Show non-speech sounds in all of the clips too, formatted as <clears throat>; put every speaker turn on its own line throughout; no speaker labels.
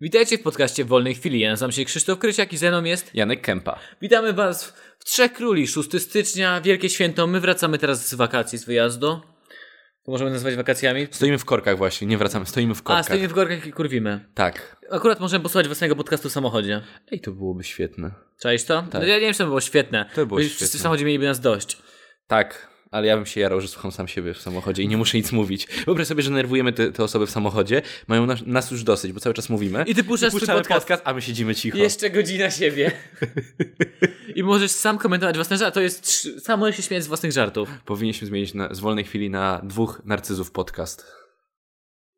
Witajcie w podcaście Wolnej Chwili. Ja nazywam się Krzysztof Krysiak i ze mną jest...
Janek Kępa.
Witamy Was w, w Trzech Króli, 6 stycznia, Wielkie Święto. My wracamy teraz z wakacji, z wyjazdu. To możemy nazwać wakacjami.
Stoimy w korkach właśnie, nie wracamy, stoimy w
A,
korkach.
stoimy w gorkach i kurwimy.
Tak.
Akurat możemy posłuchać własnego podcastu w samochodzie.
Ej, to byłoby świetne.
Cześć to? No, ja nie wiem, czy to było świetne.
Tak. To było
Bo
świetne.
Wszyscy w samochodzie mieliby nas dość.
Tak, ale ja bym się jarał, że słucham sam siebie w samochodzie i nie muszę nic mówić. Wyobraź sobie, że nerwujemy te, te osoby w samochodzie, mają nas, nas już dosyć, bo cały czas mówimy.
I ty puszczasz swój
puszczamy
podcast.
a my siedzimy cicho.
Jeszcze godzina siebie.
<laughs>
I możesz sam komentować własne żarty. To jest... trz- Sam możesz się śmiać z własnych żartów.
Powinniśmy zmienić na, z wolnej chwili na dwóch narcyzów podcast.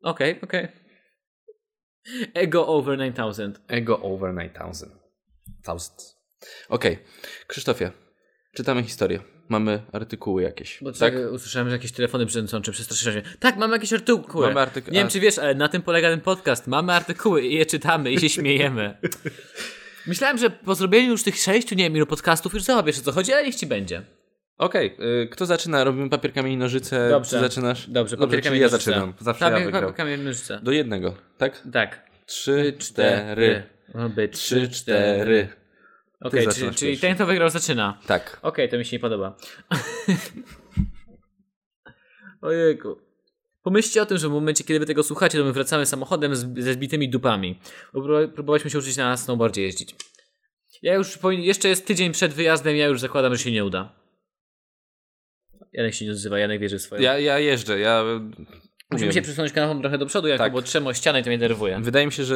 Okej, okej. Ego over 9000.
Ego over 9000. Thousand. Okej, Krzysztofie, czytamy historię. Mamy artykuły jakieś.
Bo
tak?
tak? usłyszałem, że jakieś telefony brzęczą, czy przestraszyłem się. Tak, mamy jakieś artykuły.
Mamy artyku-
Nie wiem,
a-
czy wiesz, ale na tym polega ten podcast. Mamy artykuły i je czytamy i się
<laughs>
śmiejemy. Myślałem, że po zrobieniu już tych sześciu, nie wiem, ilu podcastów już załapiesz o co chodzi, ale niech ci będzie.
Okej, y, kto zaczyna? Robimy papierkami i nożyce.
Dobrze.
Ty zaczynasz?
Dobrze,
Dobrze
papierkami
czyli ja
nożyce.
zaczynam. Zawsze ja
Prawie
wygram.
kamień nożyce.
Do jednego, tak?
Tak.
Trzy, cztery.
Oby,
Trzy, cztery.
Okej,
Ty
czyli,
zaczynasz
czyli
pierwszy.
ten, kto wygrał, zaczyna.
Tak.
Okej, to mi się nie podoba. <laughs> Ojejku. Pomyślcie o tym, że w momencie, kiedy wy tego słuchacie, to my wracamy samochodem z, ze zbitymi dupami. Bo pró- Próbowaliśmy się uczyć na snowboardzie jeździć. Ja już powin... jeszcze jest tydzień przed wyjazdem, ja już zakładam, że się nie uda. Janek się nie odzywa, Janek wierzy w swoje.
Ja, ja jeżdżę, ja... y,
Musimy
umiem.
się przesunąć kanapą trochę do przodu, jak
Tak.
tak. bo trzemy o ścianę i to mnie denerwuje.
Wydaje mi się, że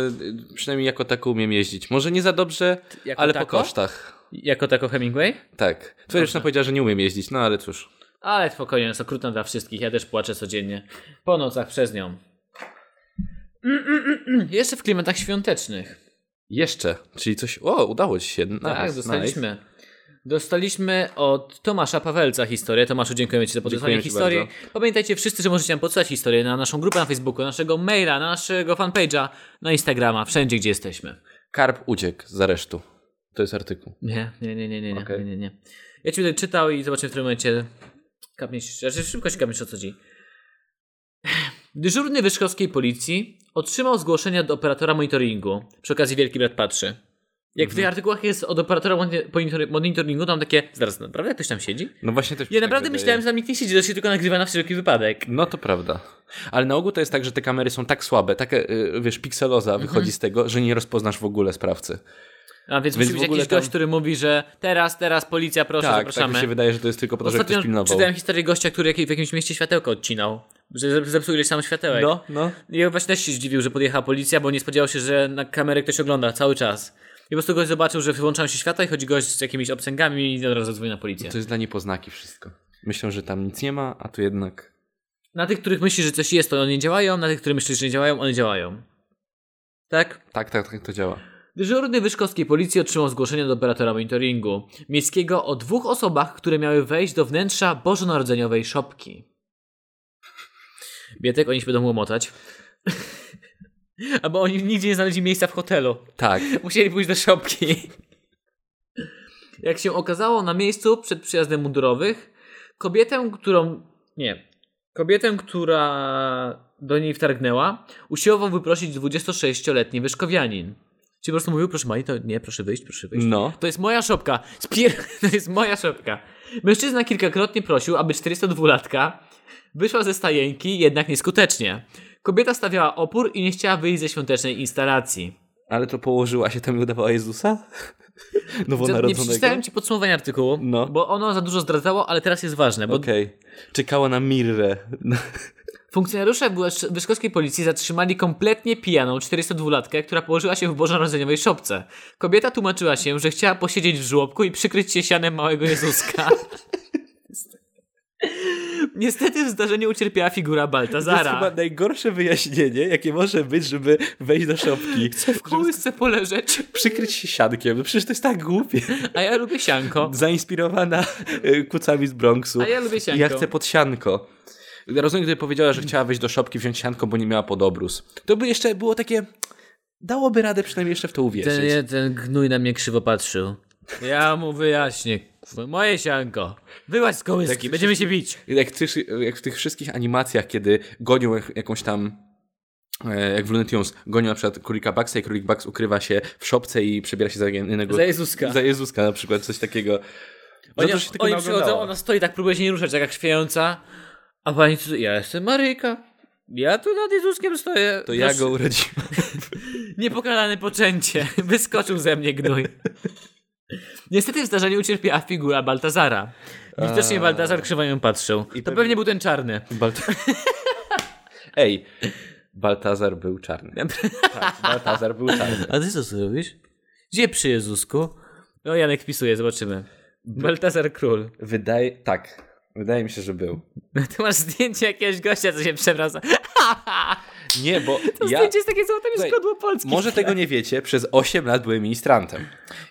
y, przynajmniej jako tako umiem jeździć. Może nie za dobrze,
jako
ale
tako?
po kosztach.
Jako tako Hemingway?
Tak. Twoja dziewczyna powiedziała, że nie umiem jeździć, no ale cóż.
Ale spokojnie, no, jest okrutna dla wszystkich. Ja też płaczę codziennie. Po nocach przez nią. Mm, mm, mm, mm. Jeszcze w klimatach świątecznych.
Jeszcze. Czyli coś... O, udało ci się. Nice,
tak,
Nice.
dostaliśmy. Dostaliśmy od Tomasza Pawelca historię. Tomaszu, dziękujemy Ci za podesłanie
Dziękujemy ci
historii. Pamiętajcie wszyscy, że możecie nam podsyłać historię na naszą grupę na Facebooku, naszego maila, na naszego fanpage'a, na Instagrama, wszędzie gdzie jesteśmy.
Karp uciekł z aresztu. To jest artykuł.
Nie, nie, nie, nie, nie, nie,
Okej.
nie, nie, nie. Ja ci będę czytał i zobaczymy w którym momencie kapniesz, znaczy szybko się kapniesz o co chodzi. Dyżurny Wyszkowskiej Policji otrzymał zgłoszenie od operatora monitoringu przy okazji Wielki Brat Patrzy. Jak
Mhm.
w tych artykułach jest od operatora moni- monitor- monitoringu, tam takie, zaraz, naprawdę ktoś tam siedzi?
No właśnie też mi
Ja
się
naprawdę
tak
myślałem, że tam nikt nie siedzi, to się tylko nagrywa na wszelki wypadek.
No to prawda. Ale na ogół to jest tak, że te kamery są tak słabe, taka, y, wiesz, pikseloza
Mhm.
wychodzi z tego, że nie rozpoznasz w ogóle sprawcy.
A więc,
Więc
musi
w
być
ogóle
jakiś
tam-
gość, który mówi, że teraz, teraz, policja, proszę,
tak, tak
zapraszamy.
mi się wydaje, że to jest tylko po to, żeby ktoś
Ostatnio
pilnował.
czytałem historię gościa, który jakiej- w jakimś mieście światełko odcinał. Że zep- zepsuł ileś tam światełek.
No, no.
I ja właśnie też się zdziwił, że podjechała policja, bo nie spodziewał się, że na kamerę ktoś ogląda cały czas. I po prostu gość zobaczył, że wyłączają się światła i chodzi gość z jakimiś obcęgami i od razu dzwoni na policję.
No To jest dla niepoznaki wszystko. Myślą, że tam nic nie ma, a tu jednak...
Na tych, których myślisz, że coś jest, to one nie działają, na tych, których myślisz, że nie działają, one działają. Tak?
Tak, tak, tak to działa.
Dyżurny Wyszkowskiej Policji otrzymał zgłoszenie do operatora monitoringu miejskiego o dwóch osobach, które miały wejść do wnętrza bożonarodzeniowej szopki. Bietek, oni się będą łomotać. <laughs> Albo oni nigdzie nie znaleźli miejsca w hotelu.
Tak.
Musieli pójść do szopki. Jak się okazało, na miejscu przed przyjazdem mundurowych kobietę, którą. Nie. Kobietę, która do niej wtargnęła, usiłował wyprosić 26-letni wyszkowianin. Czyli po prostu mówił, proszę pani, to nie, proszę wyjść, proszę wyjść.
No.
To jest moja szopka. Spier... <laughs> To jest moja szopka. Mężczyzna kilkakrotnie prosił, aby 42-latka wyszła ze stajenki, jednak nieskutecznie. Kobieta stawiała opór i nie chciała wyjść ze świątecznej instalacji.
Ale to położyła się tam i udawała Jezusa? <laughs>
Nie
Nowonarodzonego?
przeczytałem ci podsumowania artykułu,
No.
bo ono za dużo zdradzało, ale teraz jest ważne, bo
Okej. Czekała na Mirrę. No.
funkcjonariusze Wysz- Wyszkowskiej Policji zatrzymali kompletnie pijaną 42-latkę, która położyła się w bożonarodzeniowej szopce. Kobieta tłumaczyła się, że chciała posiedzieć w żłobku i przykryć się sianem małego Jezuska. <laughs> Niestety w zdarzeniu ucierpiała figura
To jest
Baltazara.
chyba najgorsze wyjaśnienie, jakie może być, żeby wejść do
<laughs>
szopki.
W kołysce poleżeć,
Przykryć się siankiem. No Przecież to jest tak głupie.
a ja lubię sianko.
Zainspirowana y, kucami z Bronxu.
A ja lubię sianko.
Ja chcę pod sianko. Rozumiem, gdy powiedziała, że chciała wejść do szopki, wziąć sianko, bo nie miała pod obrus. To by jeszcze było takie... Dałoby radę przynajmniej jeszcze w to uwierzyć.
Ten, je- ten gnój na mnie krzywo patrzył. Ja mu wyjaśnię. Moje sianko. Wyłaź z kołyski,
Tak,
będziemy się bić.
Jak, ty, jak w tych wszystkich animacjach, kiedy gonią jak, jakąś tam e, jak w Looney Tunes, gonią na przykład królika Baxa i królik Bax ukrywa się w szopce i przebiera się za innego...
Za Jezuska.
Za Jezuska na przykład, coś takiego. No
Oni,
to się tylko
oni
naoglądało.
przychodzą, ona stoi tak, próbuje się nie ruszać, tak jak chwiejąca. A pani, co- ja jestem Maryjka. Ja tu nad Jezuskiem stoję.
To ja
Proszę-
go urodziłem.
Niepokalane poczęcie. <laughs> Wyskoczył ze mnie gnój. Niestety w zdarzeniu ucierpiała figura Baltazara. Widocznie Baltazar krzywo na nią patrzył. to
pewnie-
pewnie był ten czarny.
Balt... <laughs> Ej, Baltazar był czarny. Tak, Baltazar był czarny.
A ty co zrobisz? Gdzie przy Jezusku? No Janek wpisuje, zobaczymy. Baltazar Król. <laughs>
Wydaje... Tak. Wydaje mi się, że był.
Ty masz zdjęcie jakiegoś gościa, co się przewraca.
Nie, bo
<laughs> To <laughs>
ja...
zdjęcie jest takie złote mi
Słuchaj,
składło polskie.
Może tego nie wiecie, przez 8 lat byłem ministrantem.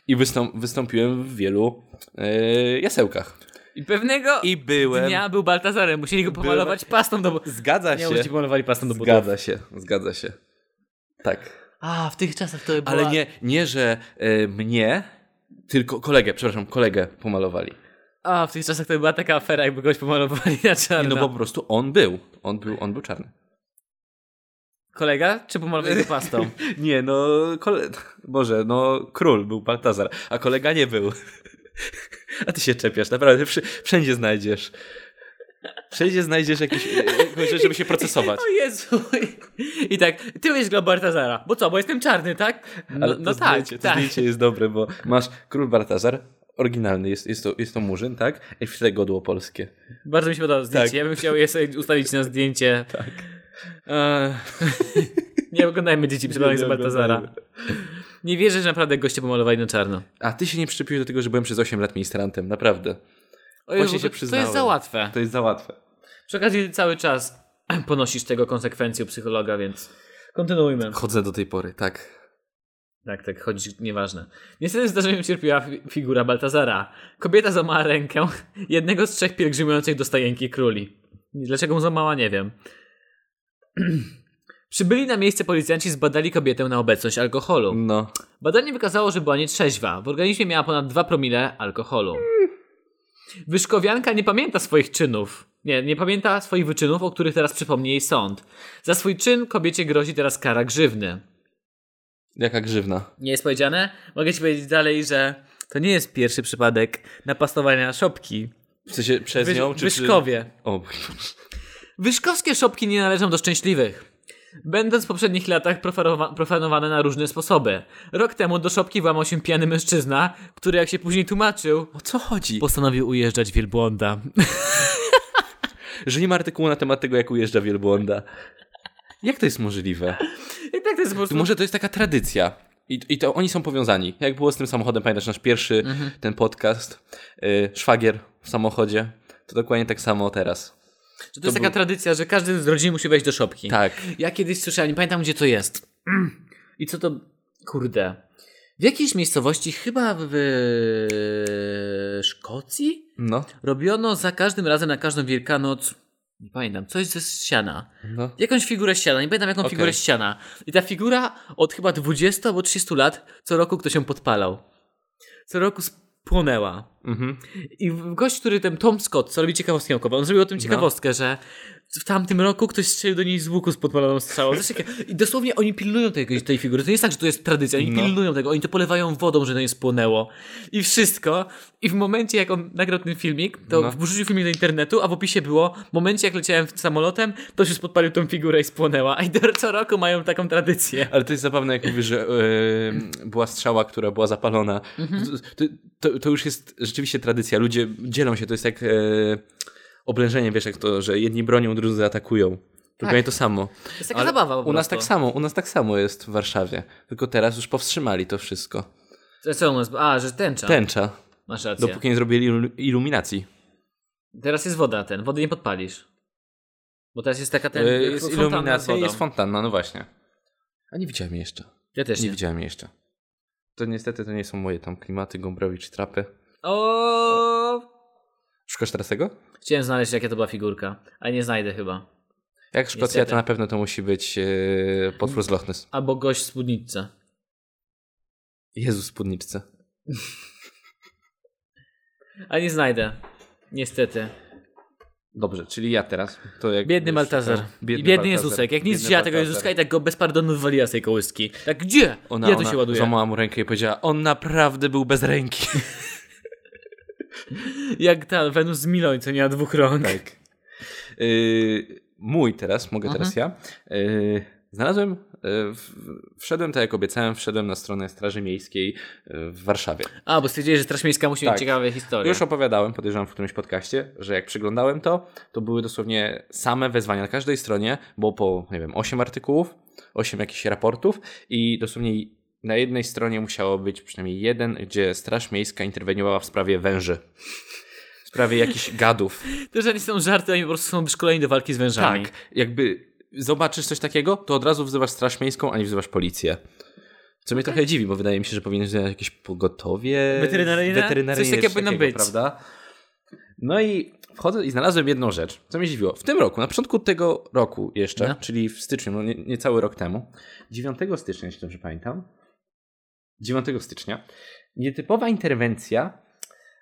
I wystą- wystąpiłem w wielu e, jasełkach.
I pewnego
I byłem...
dnia był Baltazarem. Musieli go pomalować pastą do...
Zgadza
Nie,
się.
już ci pomalowali pastą do butów.
Zgadza się, zgadza się. Tak.
A, w tych czasach to była...
Ale nie, nie że e, mnie, tylko kolegę, przepraszam, kolegę pomalowali. No
A, w tych czasach to była taka afera, jakby kogoś pomalowali na
Nie,
czarno.
no bo po prostu on był. On był, on był czarny.
Kolega? Czy pomalowali go
<laughs>
pastą?
Nie, no, kole... Boże, no, król był Baltazar, a kolega nie był. <laughs> A ty się czepiasz, naprawdę, wszy- wszędzie znajdziesz. Wszędzie znajdziesz jakieś, e, jakąś rzecz, żeby się procesować.
O Jezu. I tak, ty byłeś dla Bartazara. Bo co, bo jestem czarny, tak? No,
Ale to
no tak,
zdjęcie, To
tak.
zdjęcie jest dobre, bo masz król Baltazar, oryginalny, jest, jest, to, jest to murzyn, tak? I w tle godło polskie.
Bardzo mi się podoba zdjęcie.
Tak.
Ja bym chciał je sobie ustawić na zdjęcie. Tak. nie oglądajmy dzieci przebranych za
Nie
Bartazara.
oglądajmy.
Nie wierzę, że naprawdę goście pomalowali na czarno.
A ty się nie przyczepiłeś do tego, że byłem przez 8 lat ministrantem, naprawdę.
O Jezu,
Właśnie się
to, to
przyznałem.
jest za łatwe.
To jest za łatwe.
Przy okazji cały czas <clears throat> ponosisz tego konsekwencje u psychologa, więc kontynuujmy.
Chodzę do tej pory, tak.
Tak, tak, chodzić, nieważne. Niestety zdarzeniem cierpiała fi- figura Baltazara. Kobieta złamała rękę <laughs> jednego z trzech pielgrzymujących do stajenki króli. Dlaczego mu złamała, nie wiem. <clears throat> Przybyli na miejsce policjanci zbadali kobietę na obecność alkoholu.
No.
Badanie wykazało, że była nietrzeźwa. W organizmie miała ponad 2 promile alkoholu. Wyszkowianka nie pamięta swoich czynów. Nie, nie pamięta swoich wyczynów, o których teraz przypomni jej sąd. Za swój czyn kobiecie grozi teraz kara grzywny.
Jaka grzywna.
Nie jest powiedziane? Mogę ci powiedzieć dalej, że to nie jest pierwszy przypadek napastowania szopki.
W sensie przez
Wyż-
nią, czy
Wyszkowie.
Przy... O,
Wyszkowskie szopki nie należą do szczęśliwych. Będąc w poprzednich latach profarowa- profanowane na różne sposoby. Rok temu do szopki włamał się pijany mężczyzna, który jak się później tłumaczył,
o co chodzi?
postanowił ujeżdżać wielbłąda.
Że nie ma artykułu na temat tego, jak ujeżdża wielbłąda. Jak to jest możliwe?
I tak to jest po prostu...
Może to jest taka tradycja. I, I to oni są powiązani. Jak było z tym samochodem, pamiętasz nasz pierwszy ten podcast, y, szwagier w samochodzie. To dokładnie tak samo teraz.
to jest taka tradycja, że każdy z rodziny musi wejść do szopki.
Tak.
Ja kiedyś słyszałem, nie pamiętam gdzie to jest. Mm. I co to. Kurde. W jakiejś miejscowości, chyba w Szkocji,
No.
robiono za każdym razem na każdą Wielkanoc. Nie pamiętam, coś ze ściana.
no.
Jakąś figurę ściana, nie pamiętam jaką
Okej.
figurę ściana. I ta figura od chyba 20 albo 30 lat co roku ktoś ją podpalał. Co roku spłonęła.
Mhm.
I w- gość, który ten Tom Scott, co robi ciekawostki naukowe, on zrobił o tym
No.
ciekawostkę, że w tamtym roku ktoś strzelił do niej z łuku z podpaloną strzałą. Zresztą, I dosłownie oni pilnują tej, tej figury. To nie jest tak, że to jest tradycja. Oni
No.
pilnują tego. Oni to polewają wodą, że to nie spłonęło. I wszystko. I w momencie, jak on nagrał ten filmik, to
No.
wrzucił filmik do internetu, a w opisie było w momencie, jak leciałem samolotem, to już podpalił tą figurę i spłonęła. I do, co roku mają taką tradycję.
Ale to jest zabawne, jak mówisz, że e, była strzała, która była zapalona. To, to, to już jest rzeczywiście tradycja. Ludzie dzielą się. To jest jak e, oblężenie, wiesz, jak to, że jedni bronią, drudzy atakują. Dokładnie to samo.
To jest taka zabawa po
u nas
prostu.
tak samo, u nas tak samo jest w Warszawie. Tylko teraz już powstrzymali to wszystko.
Tak. Że Co u nas? A, że tęcza.
Tęcza.
Masz rację.
Dopóki nie zrobili ilu- iluminacji.
Teraz jest woda ten, wody nie podpalisz. Bo teraz jest taka ten.
E,
jak
Jest
fontanna z
iluminacja i
wodą.
jest fontanna, no właśnie. A nie widziałem jej jeszcze.
Ja też
Nie
nie.
widziałem jej jeszcze. To niestety to nie są moje tam klimaty, Gombrowicz, trapy.
O!
Szukasz teraz tego?
Chciałem znaleźć, jaka to była figurka, ale nie znajdę chyba.
Jak Szkocja,
Niestety.
to na pewno to musi być e, potwór z Loch Ness.
Albo gość w spódnicy.
Jezus, spódniczce.
Ale nie znajdę. Niestety.
Dobrze, czyli ja teraz. To jak
Biedny
już-
Maltazar.
tak,
Biedny, biedny
Baltazar.
Jezusek. Jak nic
Biedny
wzięła tego
Baltazar.
Jezuska i tak go bez pardonu wywaliła z tej kołyski. Tak gdzie?
Ona,
ja tu
ona
się ładuję.
złamała mu rękę i powiedziała, on naprawdę był bez ręki.
Jak ta Wenus z Miloń, co nie ma dwóch rąk.
Tak. Yy, mój teraz, mogę teraz ja. Yy, znalazłem, yy, w- wszedłem, tak jak obiecałem, wszedłem na stronę Straży Miejskiej yy, w Warszawie.
A, bo stwierdzili, że Straż Miejska musi
Tak.
mieć ciekawe historie.
Już opowiadałem, podejrzewam w którymś podcaście, że jak przyglądałem to, to były dosłownie same wezwania na każdej stronie, było po, nie wiem, 8 artykułów, 8 jakichś raportów i dosłownie na jednej stronie musiało być przynajmniej jeden, gdzie Straż Miejska interweniowała w sprawie węży. W sprawie jakichś gadów.
To, że nie są żarty, oni po prostu są szkoleni do walki z wężami.
Tak, jakby zobaczysz coś takiego, to od razu wzywasz Straż Miejską, a nie wzywasz policję. Co mnie trochę dziwi, bo wydaje mi się, że powinien być jakieś pogotowie
Weterynaryjne?
weterynaryjne
Coś takiego powinno być.
prawda? No i wchodzę i znalazłem jedną rzecz, co mnie dziwiło. W tym roku, na początku tego roku jeszcze,
No.
czyli w styczniu, no nie, niecały rok temu, 9 stycznia, jeśli dobrze pamiętam, 9 stycznia, nietypowa interwencja,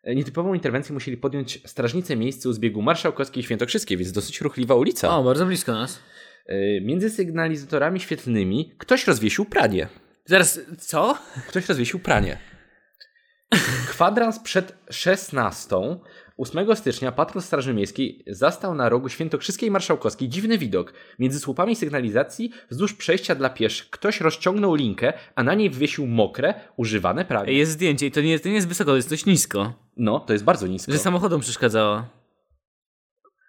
e, nietypową interwencję musieli podjąć strażnicy miejscy u zbiegu Marszałkowskiej i Świętokrzyskiej, więc dosyć ruchliwa ulica.
O, bardzo blisko nas.
Y, Między sygnalizatorami świetlnymi ktoś rozwiesił pranie.
Zaraz, co?
Ktoś rozwiesił pranie. Kwadrans przed 16. 8 stycznia patrol Straży Miejskiej zastał na rogu Świętokrzyskiej i Marszałkowskiej dziwny widok. Między słupami sygnalizacji wzdłuż przejścia dla pieszych ktoś rozciągnął linkę, a na niej wywiesił mokre, używane pranie.
Jest zdjęcie i to nie, to nie jest wysoko, to jest dość nisko.
No, to jest bardzo nisko.
Że samochodom przeszkadzało.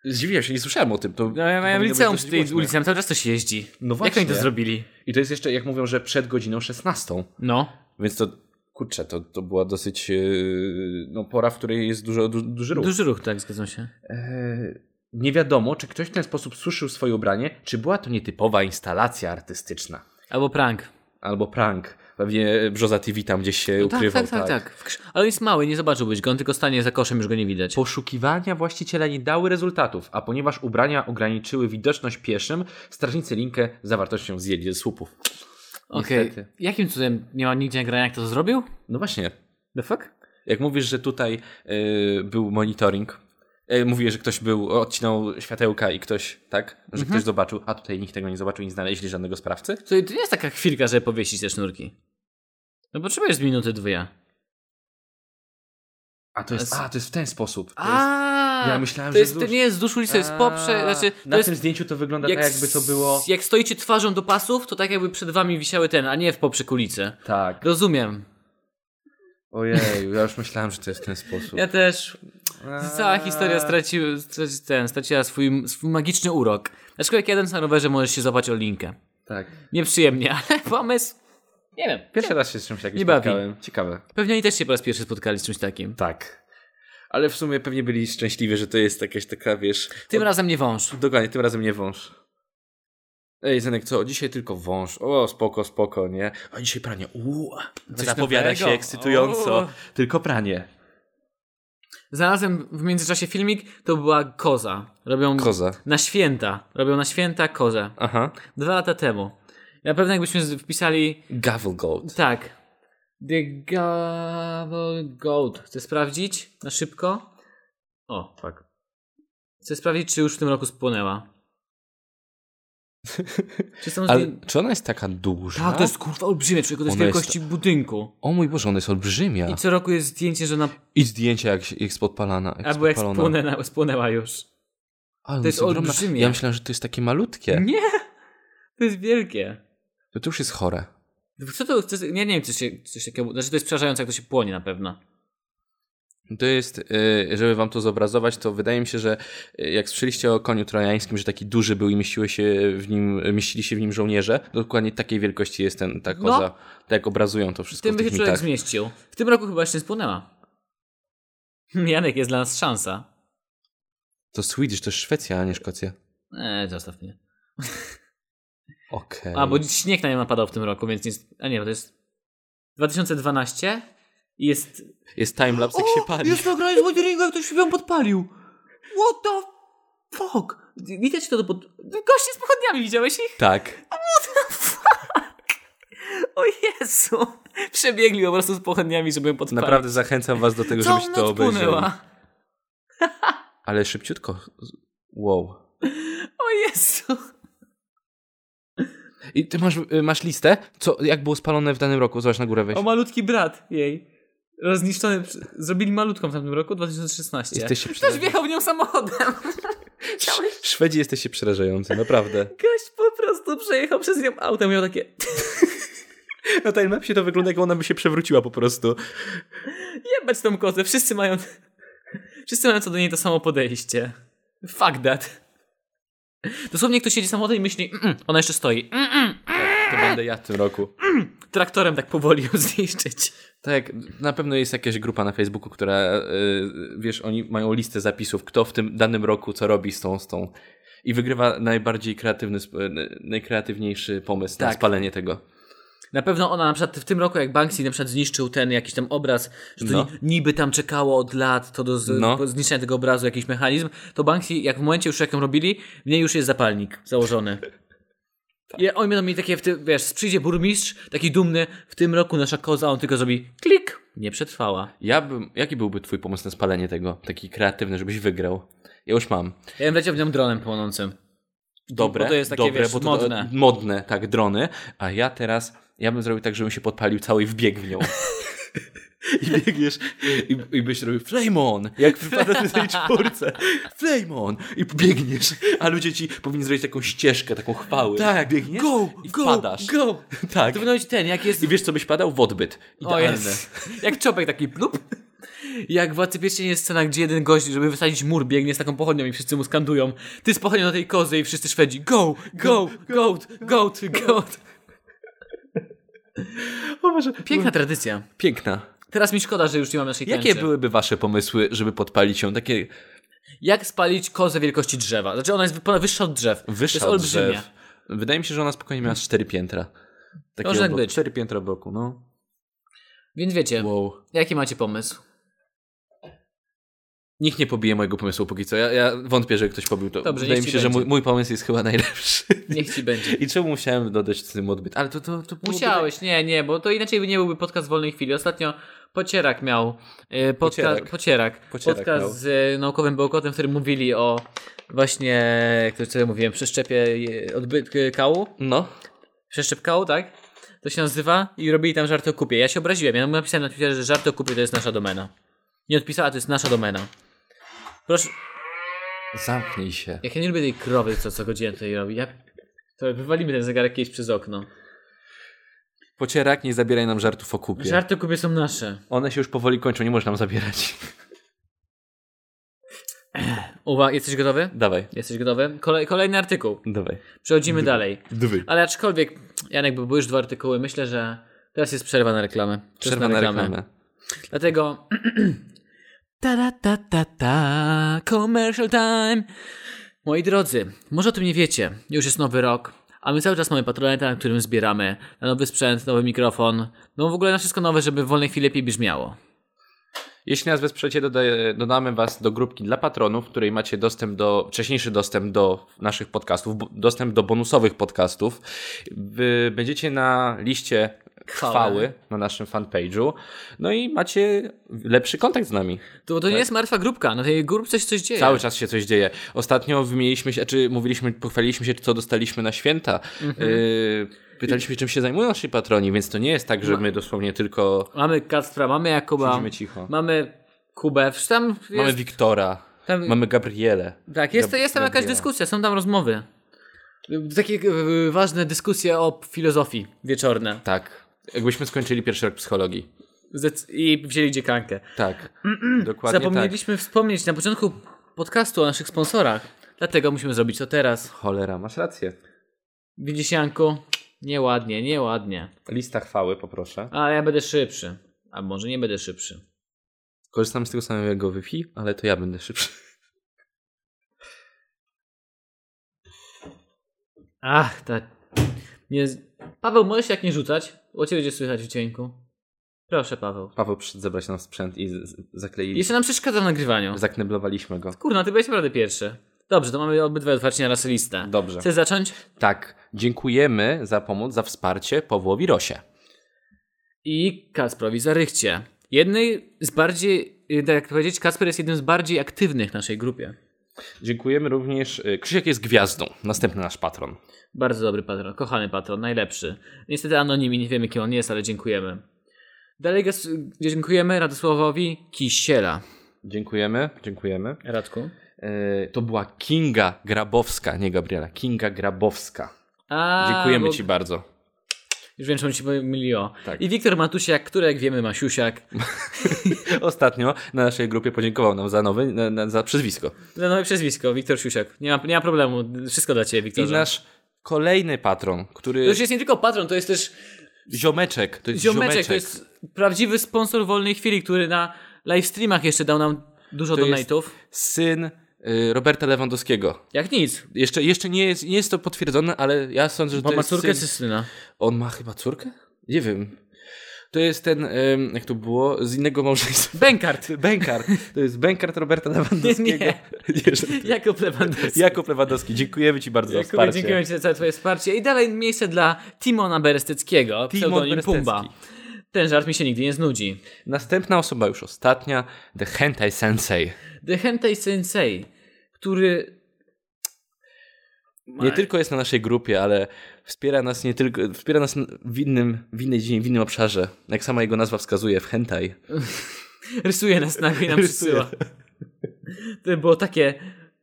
Zdziwiłem się, nie słyszałem o tym. To
No, ja miałem
powinno być
liceum
dosyć
przy tej
głośne.
ulicy, tam cały czas coś jeździ.
No
Jak oni to
właśnie.
zrobili?
I to jest jeszcze, jak mówią, że przed godziną 16.
No.
Więc to, kurczę, to, to była dosyć yy, no, pora, w której jest dużo, du, duży ruch.
Duży ruch, tak, zgadzam się.
Eee, nie wiadomo, czy ktoś w ten sposób suszył swoje ubranie, czy była to nietypowa instalacja artystyczna.
Albo prank.
Albo prank. Pewnie Brzoza TV tam gdzieś się
tak,
ukrywał.
tak, tak, tak. W krz- Ale on jest mały, nie zobaczyłbyś go, on tylko stanie za koszem, już go nie widać.
Poszukiwania właściciela nie dały rezultatów, a ponieważ ubrania ograniczyły widoczność pieszym, strażnicy linkę z zawartością zjedli ze słupów.
Okej.
niestety.
Jakim cudem nie ma nigdzie nagrania, jak to zrobił?
No właśnie,
The fuck?
Jak mówisz, że tutaj y, był monitoring, yy, mówiłeś, że ktoś był, odcinał światełka i ktoś, tak? Że
Mhm.
ktoś zobaczył, a tutaj nikt tego nie zobaczył i nie znaleźli żadnego sprawcy?
To, to nie jest taka chwilka, żeby powiesić te sznurki. No potrzebujesz minuty, dwie.
A to jest, a, to jest w ten sposób. To jest,
A,
ja myślałem,
to
że
jest,
wzdłuż.
To nie jest wzdłuż ulicy, to jest poprze...
A,
Znaczy, to
na
jest
tym zdjęciu to wygląda tak, jakby to było...
s- Jak stoicie twarzą do pasów, to tak jakby przed wami wisiały ten, a nie w poprzek ulicy.
Tak.
Rozumiem.
Ojej, ja już myślałem, że to jest w ten sposób.
Ja też.
A.
Cała historia straciła, straci, ten, straciła swój, swój magiczny urok. Dlaczego jak jadąc na rowerze możesz się złapać o linkę?
Tak.
Nieprzyjemnie, <laughs> ale pomysł... Nie wiem.
Pierwszy raz się z czymś jakimś
Nie bawi.
spotkałem. Ciekawe.
Pewnie oni też się po raz pierwszy spotkali z czymś takim.
Tak. Ale w sumie pewnie byli szczęśliwi, że to jest jakaś taka, wiesz...
Tym razem nie wąż.
Dokładnie, tym razem nie wąż. Ej, Zenek, co? Dzisiaj tylko wąż. O, spoko, spoko, nie? A dzisiaj pranie. Uuu,
Coś
zapowiada
nowego.
się ekscytująco.
Uuu.
Tylko pranie.
Znalazłem w międzyczasie filmik, to była koza. Robią
Koza.
na święta. Robią na święta kozę.
Aha.
Dwa lata temu. Na pewno jakbyśmy z- wpisali
Gavel Gold.
tak. The Gavel Goat. Chcę sprawdzić na szybko. O, tak. Chcę sprawdzić, czy już w tym roku spłonęła.
<laughs>
czy są
Ale
zdję-
czy ona jest taka duża?
Tak, to jest kurwa olbrzymie, człowieku, to jest
Ona jest-
wielkości budynku.
O mój Boże, ona jest olbrzymia.
I
I,
co roku jest zdjęcie, że ona
zdjęcia jak, się- jak jest podpalana. Jak
albo jak
podpalona.
spłonęła, spłonęła już.
Ale ona
jest
ogromna.
olbrzymie.
Ja myślałem, że to jest takie malutkie.
Nie! To jest wielkie.
To, to już jest chore.
Co to, co, ja nie wiem, czy się, coś takiego, znaczy to jest przerażające, jak to się płonie na pewno.
To jest, y, żeby wam to zobrazować, to wydaje mi się, że y, jak słyszeliście o koniu trojańskim, że taki duży był i mieściły się w nim, mieścili się w nim żołnierze, dokładnie takiej wielkości jest ten, ta koza. Tak jak obrazują to
W tak.
wszystko
No. tym
w
by się
tych
człowiek
mitach.
zmieścił. W tym roku chyba jeszcze nie spłonęła. Hmm, <laughs> Janek, jest dla nas szansa.
To Swedish, to jest Szwecja, a nie Szkocja.
Eee, zostaw mnie.
Okej.
A, bo śnieg na nie napadał w tym roku, więc nie... A nie, bo to jest 2012 i jest...
Jest timelapse, jak się pali.
jest nagranie z Woderinga, jak ktoś ją podpalił. What the fuck? Widać to do pod... Goście z pochodniami, widziałeś ich?
Tak.
O Jezu! Przebiegli po prostu z pochodniami, żeby ją podpalić.
Naprawdę zachęcam was do tego,
Całą
żebyście
noc
to obejrzeli.
płynęła.
Ale szybciutko Wow.
O Jezu.
I ty masz, y, masz listę, co, jak było spalone w danym roku. Zobacz na górę wejść.
O malutki brat jej. Rozniszczony. przy- Zrobili malutką w tamtym roku, 2016.
Jesteście przeraż...
Ktoś wjechał w nią <laughs> samochodem.
Szwedzi jesteście przerażający, naprawdę.
Gość po prostu przejechał przez nią autem i miał takie...
Na timelapsie to wygląda, jak ona by się przewróciła po prostu.
Jebać tą kozę, wszyscy mają... Wszyscy mają co do niej to samo podejście. Fuck that. Dosłownie ktoś siedzi samochodem i myśli, mm ona jeszcze stoi. Mm,
To będę ja w tym roku.
traktorem tak powoli ją <laughs> zniszczyć.
Tak, na pewno jest jakaś grupa na Facebooku, która, y, wiesz, oni mają listę zapisów, kto w tym danym roku co robi z tą, z tą. I wygrywa najbardziej kreatywny, sp- y, najkreatywniejszy pomysł na
Tak.
spalenie tego.
Na pewno ona na przykład w tym roku, jak Banksy na przykład zniszczył ten jakiś tam obraz, że to
No.
ni- niby tam czekało od lat to do z-
No.
po- zniszczenia tego obrazu jakiś mechanizm, to Banksy, jak w momencie już jak ją robili, w niej już jest zapalnik założony.
Tak.
I oni będą mieli takie, w tym, wiesz, przyjdzie burmistrz, taki dumny, w tym roku nasza koza, on tylko zrobi klik, nie przetrwała.
Ja bym, jaki byłby twój pomysł na spalenie tego? Taki kreatywny, żebyś wygrał. Ja już mam.
Ja bym leciał w nią dronem płonącym.
Dobre,
Bo to jest takie,
dobre,
wiesz,
bo to,
modne.
modne, tak, drony. A ja teraz, ja bym zrobił tak, żebym się podpalił cały i wbiegł
<laughs>
w nią. I biegniesz i, i byś robił flame on, jak wypada w tej czwórce. Flame on! I biegniesz, a ludzie ci powinni zrobić taką ścieżkę, taką chwały.
Tak,
biegniesz
Go,
i
go,
wpadasz.
go.
<laughs> Tak.
To powinno być ten, jak jest
I wiesz, co byś padał? W odbyt.
O
Idealne.
jest. <laughs> Jak czopek taki plup. Jak w Władcy Pierścieni jest scena, gdzie jeden gość, żeby wysadzić mur, biegnie z taką pochodnią i wszyscy mu skandują. Ty z pochodnią na tej kozy i wszyscy Szwedzi. Go, go, goat, goat, goat.
O Boże.
Piękna tradycja.
Piękna.
Teraz mi szkoda, że już nie mam naszej
Jakie
tęczy.
byłyby wasze pomysły, żeby podpalić ją? Takie
Jak spalić kozę wielkości drzewa? Znaczy ona jest wy- wyższa od drzew.
wyższa
to
od
jest olbrzymia.
drzew. Wydaje mi się, że ona spokojnie miała z cztery piętra. Takie
Może tak
obok-
być.
Cztery piętra w bloku, no.
Więc wiecie,
Wow.
jaki macie pomysł?
Nikt nie pobije mojego pomysłu póki co. Ja, ja wątpię, że ktoś pobił to.
Dobrze,
Wydaje
niech
mi
ci
się, że
będzie.
mój, mój pomysł jest chyba najlepszy.
<laughs> Niech ci będzie.
I czemu musiałem dodać z tym odbyt? Ale to, to, to byłoby-
Musiałeś, nie, nie, bo to inaczej by nie byłby podcast wolnej chwili. Ostatnio Pocierak miał. y, Podca- pocierak.
Pocierak.
Pocierak.
Pocierak
podcast
miał.
z y, naukowym bełkotem, w którym mówili o właśnie, jak to sobie mówiłem, przeszczepie y, odbyt y, kału.
No.
Przeszczep kału, tak? To się nazywa i robili tam żart o kupie. Ja się obraziłem, ja napisałem na Twitterze, że żart o kupie to jest nasza domena. Nie odpisała, to jest nasza domena. Proszę,
Zamknij się.
jak ja nie lubię tej krowy, co co godzinę tutaj robi. Ja... To wywalimy ten zegarek kiedyś przez okno.
Pocierak, nie zabieraj nam żartów o kupie.
Żarty o kupie są nasze.
One się już powoli kończą, nie można nam zabierać. <laughs>
Uwaga, jesteś gotowy?
Dawaj.
Jesteś gotowy? Kolej, kolejny artykuł.
Dawaj.
Przechodzimy dalej.
Dwy.
Ale aczkolwiek, Janek, bo były już dwa artykuły, myślę, że teraz jest przerwa na reklamę. Czas
Przerwa na reklamę.
Dlatego... <clears throat> ta, ta, ta, ta, ta, commercial time. Moi drodzy, może o tym nie wiecie, już jest nowy rok, a my cały czas mamy patronata, na którym zbieramy na nowy sprzęt, nowy mikrofon, no w ogóle na wszystko nowe, żeby w wolnej chwili lepiej brzmiało.
Jeśli nas wesprzecie, dodaję, dodamy was do grupki dla patronów, w której macie dostęp do, wcześniejszy dostęp do naszych podcastów, bo- dostęp do bonusowych podcastów. Wy będziecie na liście
Chwały.
chwały, na naszym fanpage'u. No i macie lepszy kontakt z nami.
To, to nie jest martwa grupka, na tej grupce się coś dzieje.
Tak. Cały czas się coś dzieje. Ostatnio wymieniliśmy się, czy mówiliśmy, pochwaliliśmy się, co dostaliśmy na święta.
Mhm.
Yy, pytaliśmy, czym się zajmują nasi patroni, więc to nie jest tak, że my dosłownie tylko
Mamy Kacpra, mamy Jakuba,
siedzimy cicho.
Mamy Kubę, w- tam jest,
No. Mamy Wiktora,
tam,
mamy Gabrielę.
tak, jest,
Gab-
jest tam jakaś
Gabriela.
dyskusja, są tam rozmowy. Takie e, ważne dyskusje o filozofii wieczorne.
Tak. Jakbyśmy skończyli pierwszy rok psychologii.
Zdec- I wzięli dziekankę.
Tak. Dokładnie
Zapomnieliśmy wspomnieć na początku podcastu o naszych sponsorach, dlatego musimy zrobić to teraz.
tak. Cholera, masz rację.
Widzisz, Janku? Nieładnie, nieładnie.
Lista chwały, poproszę.
Ale ja będę szybszy. A może nie będę szybszy.
Korzystam z tego samego Wi-Fi, ale to ja będę szybszy.
Ach, tak. Nie... z- Paweł, możesz jak nie rzucać? Bo cię będzie słychać w dźwięku. Proszę, Paweł.
Paweł przyszedł zabrać nam sprzęt i z- z- zakleili...
Jeszcze nam przeszkadza w nagrywaniu.
Zakneblowaliśmy go.
Kurna, ty byłeś naprawdę pierwszy. Dobrze, to mamy obydwaj otwarcie na raz listę.
Dobrze.
Chcesz zacząć?
Tak. Dziękujemy za pomoc, za wsparcie Pawłowi Rosie.
I Kasprowi Zarychcie. Jednej z bardziej, y, tak jak powiedzieć, Kasper jest jednym z bardziej aktywnych w naszej grupie.
Dziękujemy również. y, Krzysiek jest gwiazdą, następny nasz patron.
Bardzo dobry patron, kochany patron, najlepszy. Niestety anonim i nie wiemy kim on jest, ale dziękujemy. Dalej gas- dziękujemy Radosławowi Kisiela.
Dziękujemy, dziękujemy.
Radku?
Y, To była Kinga Grabowska, nie Gabriela, Kinga Grabowska.
A,
Dziękujemy
bo-
ci bardzo.
Już wiem, czemu ci pomyliło.
Tak.
I Wiktor Matusiak, który jak wiemy ma siusiak.
Ostatnio na naszej grupie podziękował nam za nowy, na, na, za przezwisko.
No nowe przezwisko, Wiktor Siusiak. Nie ma, nie ma problemu, wszystko dla ciebie,
I
Wiktorze.
nasz kolejny patron, który...
To już jest nie tylko patron, to jest też
Ziomeczek, to jest
ziomeczek,
ziomeczek.
to jest prawdziwy sponsor wolnej chwili, który na livestreamach jeszcze dał nam dużo
To jest-
donate'ów.
Syn y, Roberta Lewandowskiego.
Jak nic,
Jeszcze, jeszcze nie, jest, nie jest to potwierdzone, ale ja sądzę, że
bo
to
ma
jest
córkę czy
syn...
syna.
On ma chyba córkę? Nie wiem. To jest ten, em, jak to było, z innego małżeństwa.
<laughs> Benkart,
<laughs> Bękart. To jest Bękart Roberta Lewandowskiego.
Nie, <laughs> nie.
<laughs> Nie, że-
jako Lewandowski.
Jakub Lewandowski, dziękujemy Ci bardzo za
Jakubie,
wsparcie.
dziękujemy Ci za całe Twoje wsparcie. I dalej miejsce dla Timona Beresteckiego, pseudonim
Berestecki.
Pumba. Ten żart mi się nigdy nie znudzi.
Następna osoba już ostatnia, The Hentai Sensei.
The Hentai Sensei, który...
Nie tylko jest na naszej grupie, ale wspiera nas nie tylko, wspiera nas w innym, w innej dziedzinie, w innym obszarze. Jak sama jego nazwa wskazuje, w hentai.
Rysuje nas nagle i nam
Rysuje.
przysyła. To było takie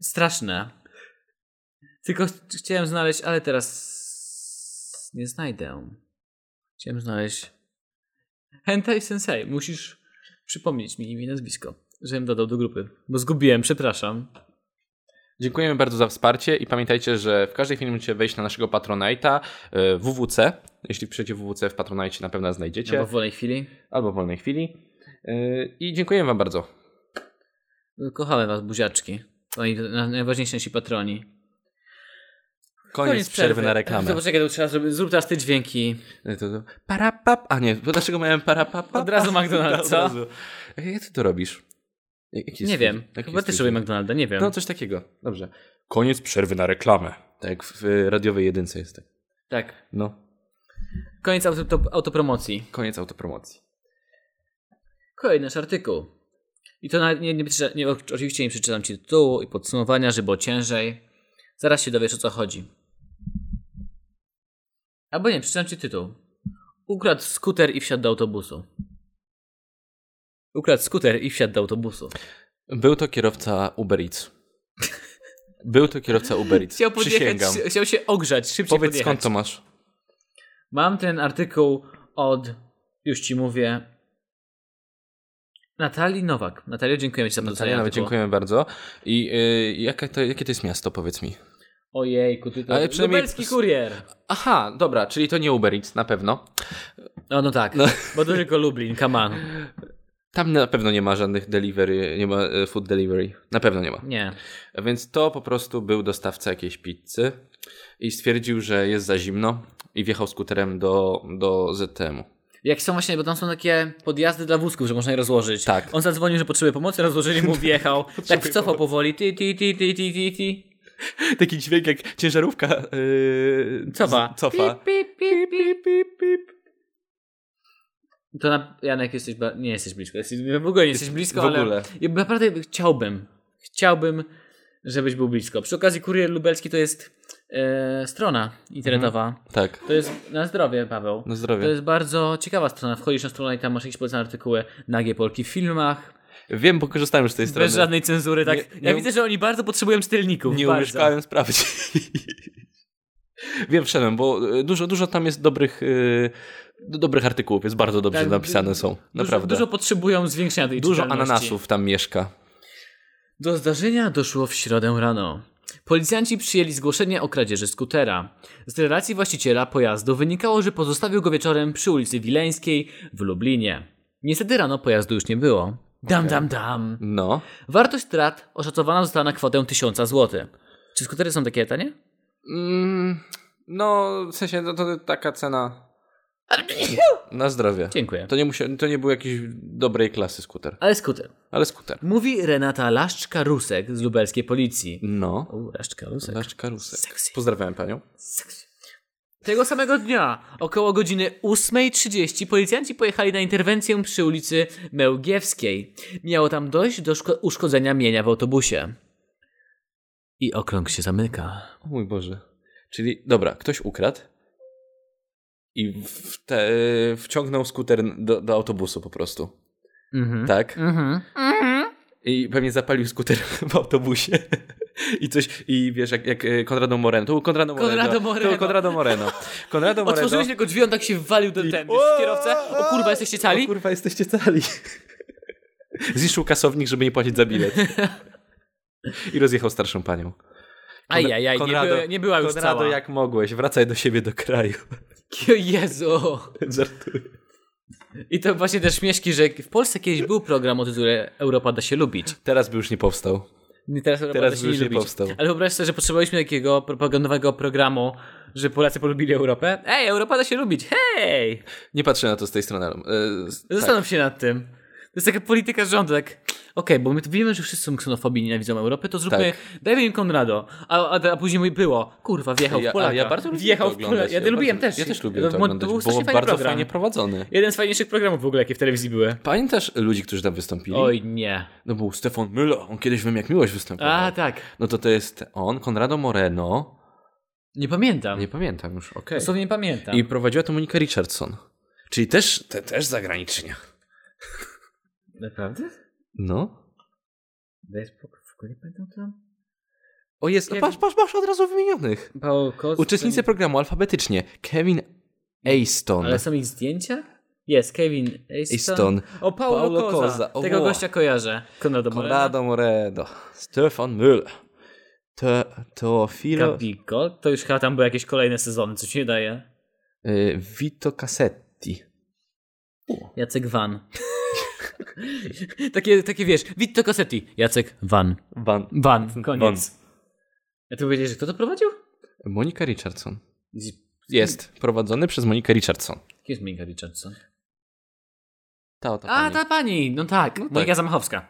straszne. Tylko ch- chciałem znaleźć, ale teraz nie znajdę. Chciałem znaleźć Hentai Sensei. Musisz przypomnieć mi imię i nazwisko, żebym dodał do grupy. Bo zgubiłem, przepraszam.
Dziękujemy bardzo za wsparcie i pamiętajcie, że w każdej chwili możecie wejść na naszego Patronite'a e, WWC. Jeśli piszecie WWC w Patronite na pewno nas znajdziecie.
Albo w wolnej chwili.
Albo w wolnej chwili. E, I dziękujemy Wam bardzo.
Kochamy was, buziaczki. Oni na- najważniejsi nasi patroni.
Koniec, przerwy. na reklamę.
To poczekaj, to trzeba zrobić. Zrób teraz te dźwięki.
E, To, to, parapap. A nie, bo dlaczego miałem parapap?
Od razu
<laughs>
McDonald's, co?
Jak ty to E, robisz? Jak- jaki jest
nie
twój-
wiem.
jaki
Chyba
jest
też
twój-
robię McDonalda, nie wiem.
No coś takiego. Dobrze. Koniec przerwy na reklamę. Tak jak w y, radiowej jedynce jest tak.
tak.
No,
Koniec auto, autopromocji.
koniec autopromocji.
Kolejny nasz artykuł. I to nawet nie, nie, przeczyta- nie, oczywiście nie przeczytam ci tytułu i podsumowania, żeby było ciężej. Zaraz się dowiesz o co chodzi. Albo nie, przeczytam ci tytuł. Ukradł skuter i wsiadł do autobusu. Ukradł skuter i wsiadł do autobusu.
Był to kierowca Uber Eats. Był to kierowca Uber Eats.
Chciał podjechać,
Przysięgam.
chciał się ogrzać, szybciej
Powiedz
podjechać.
skąd to masz.
Mam ten artykuł od, już ci mówię, Natalii Nowak. Natalio, dziękujemy ci za podpisanie
Natalia, nawet
artykułu.
dziękujemy bardzo. I y, jaka to, jakie to jest miasto, powiedz mi?
Ojejku, ty to...
Ale przynajmniej-
Lubelski kurier.
Aha, dobra, czyli to nie Uber Eats, na pewno.
No, no tak, <laughs> bo to tylko Lublin, come on.
Tam na pewno nie ma żadnych delivery, nie ma y, food delivery. Na pewno nie ma.
Nie.
Więc to po prostu był dostawca jakiejś pizzy i stwierdził, że jest za zimno i wjechał skuterem do, do ZTM-u.
Jak są właśnie, bo tam są takie podjazdy dla wózków, że można je rozłożyć.
Tak.
On zadzwonił, że potrzebuje pomocy, rozłożyli mu, <laughs> wjechał. tak wcofał powoli, ti, ti, ti, ti, ti, ti, ti.
Taki dźwięk jak ciężarówka yy,
Cofa.
cofa.
Pip, pip, pip, pip, pip, pip. To na... Janek, jesteś... Ba... Nie jesteś blisko. Jesteś... W ogóle nie jesteś blisko,
w
ale...
ogóle.
Ja naprawdę chciałbym. Chciałbym, żebyś był blisko. Przy okazji Kurier Lubelski to jest e, strona internetowa.
Tak.
To jest na zdrowie, Paweł.
Na zdrowie.
To jest bardzo ciekawa strona. Wchodzisz na stronę i tam masz jakieś polecane artykuły nagie Polki w filmach.
Wiem, bo korzystałem już z tej strony.
Bez żadnej cenzury, tak.
Nie- nie
ja
um-
widzę, że oni bardzo potrzebują czytelników.
Nie
bardzo.
umieszkałem sprawdzić. <laughs> Wiem, wszedłem, bo y, dużo, dużo tam jest dobrych, y, do- dobrych artykułów, jest bardzo dobrze
Tak,
napisane są.
Dużo,
Naprawdę.
dużo potrzebują zwiększenia tej
Dużo
czytelności.
ananasów tam mieszka.
Do zdarzenia doszło w środę rano. Policjanci przyjęli zgłoszenie o kradzieży skutera. Z relacji właściciela pojazdu wynikało, że pozostawił go wieczorem przy ulicy Wileńskiej w Lublinie. Niestety rano pojazdu już nie było. Dam, dam, dam.
No.
Wartość strat oszacowana została na kwotę 1000 zł. Czy skutery są takie tanie?
Mm, no, w sensie to, to taka cena na zdrowie.
Dziękuję.
To nie, musia, to nie był jakiś dobrej klasy skuter,
Ale skuter.
ale skuter.
Mówi Renata Laszczka-Rusek z lubelskiej policji.
No.
U, Laszczka-Rusek.
Nasz karusek.
Sexy.
Pozdrawiam panią.
Seks. Tego samego dnia, około godziny 8.30, policjanci pojechali na interwencję przy ulicy Mełgiewskiej. Miało tam dojść do szko- uszkodzenia mienia w autobusie. I okrąg się zamyka.
O mój Boże. Czyli, dobra, ktoś ukradł i w te, wciągnął skuter do, do autobusu po prostu.
Mhm.
Tak?
Mhm.
I pewnie zapalił skuter <laughs> w autobusie. I coś, i wiesz, jak, jak e, Konrado Moreno. To był Konrado Moreno.
Konrado
To
Moreno.
był Konrado Moreno.
<laughs>
Konrado Moreno.
Otworzyłeś tylko drzwi, on tak się walił ten,
I-
ten
O!
kierowca. O kurwa, jesteście
O
cali?
kurwa, jesteście cali. Zniszczył kasownik, żeby nie płacić za bilet. I rozjechał starszą panią.
Ajajaj, nie,
Konrado-
była- nie była już
Konrado,
cała.
jak mogłeś, wracaj do siebie, do kraju.
<laughs>
<laughs>
Jezu.
Żartuję.
I to właśnie też śmieszki, że w Polsce kiedyś był program o tytule Europa da się lubić.
Teraz by już nie powstał.
Nie, Teraz Europa
Teraz
da się
już
nie
nie
lubić.
powstał.
Ale wyobraź sobie, że potrzebowaliśmy takiego propagandowego programu, że Polacy polubili Europę. Ej, Europa da się lubić, hej!
Nie patrzę na to z tej strony. ale, e, z- tak.
Zastanów się nad tym. To jest taka polityka rządu, tak. Okej, bo my tu wiemy, że wszyscy są ksenofobii i nienawidzą Europy, to zróbmy,
Tak.
dajmy im Konrado. A, a, a później mój było, kurwa, wjechał
Ja-
w Polaka.
ale ja bardzo lubię
wjechał
to
w Polaka.
oglądać.
Ja, lubiłem
bardzo-
też.
Ja też
To
lubiłem to
był-
oglądać,
To był
było
strasznie
bardzo
fajny program.
fajnie prowadzony.
Jeden z fajniejszych programów w ogóle, jakie w telewizji były.
Pamiętasz ludzi, którzy tam wystąpili?
Oj, nie.
No był Stefan Müller, on kiedyś wiem jak miłość występował.
A, tak.
No to to jest on, Konrado Moreno,
Nie pamiętam.
nie pamiętam już, okej.
Dosłownie nie pamiętam.
I prowadziła to Monika Richardson. Czyli też, te, też zagranicznia.
Naprawdę?
No.
Daj spokój, w ogóle nie pamiętam tam.
O jest,
Kevin-
No patrz, patrz, patrz od razu wymienionych.
Paweł Koc,
Uczestnicy programu alfabetycznie. Kevin Aston.
Ale są ich zdjęcia? Jest, Kevin Easton.
Aston.
O, Paulo,
Paulo
Koza.
Koza, o,
Tego
wow.
gościa kojarzę. Konrado Moreno.
Konrado Moreno. Stefan Müller. Te, Teofilo.
Gabigo. To już chyba tam były jakieś kolejne sezony, co się nie daje.
Y, Vito Cassetti.
Jacek Van.
<laughs>
takie, takie wiesz, Vito Cassetti. Jacek Van.
Van.
Van, koniec. A ty powiedziałeś, że kto to prowadził?
Monika Richardson. Jest prowadzony przez Monikę Richardson.
Kim jest Monika Richardson?
Ta, ta
A, ta pani, no tak,
tak.
Monika Zamachowska.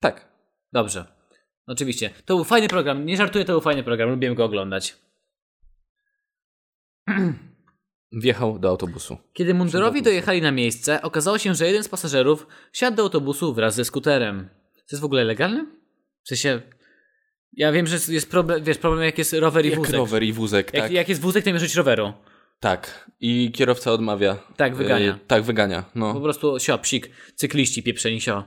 Tak.
Dobrze. Oczywiście. To był fajny program. Nie żartuję, to był fajny program. Lubiłem go oglądać.
Wjechał do autobusu.
Kiedy mundurowi dojechali na miejsce, okazało się, że jeden z pasażerów siadł do autobusu wraz ze skuterem. To jest w ogóle legalne? W sensie... Ja wiem, że jest problem, wiesz, problem jak jest rower i
Jak
wózek.
rower i wózek,
Jak,
tak.
jak jest wózek, to nie możesz mieć roweru.
Tak. I kierowca odmawia.
Tak, wygania.
Y, tak, wygania.
Po
No.
prostu sio, psik, cykliści pieprzeni sio.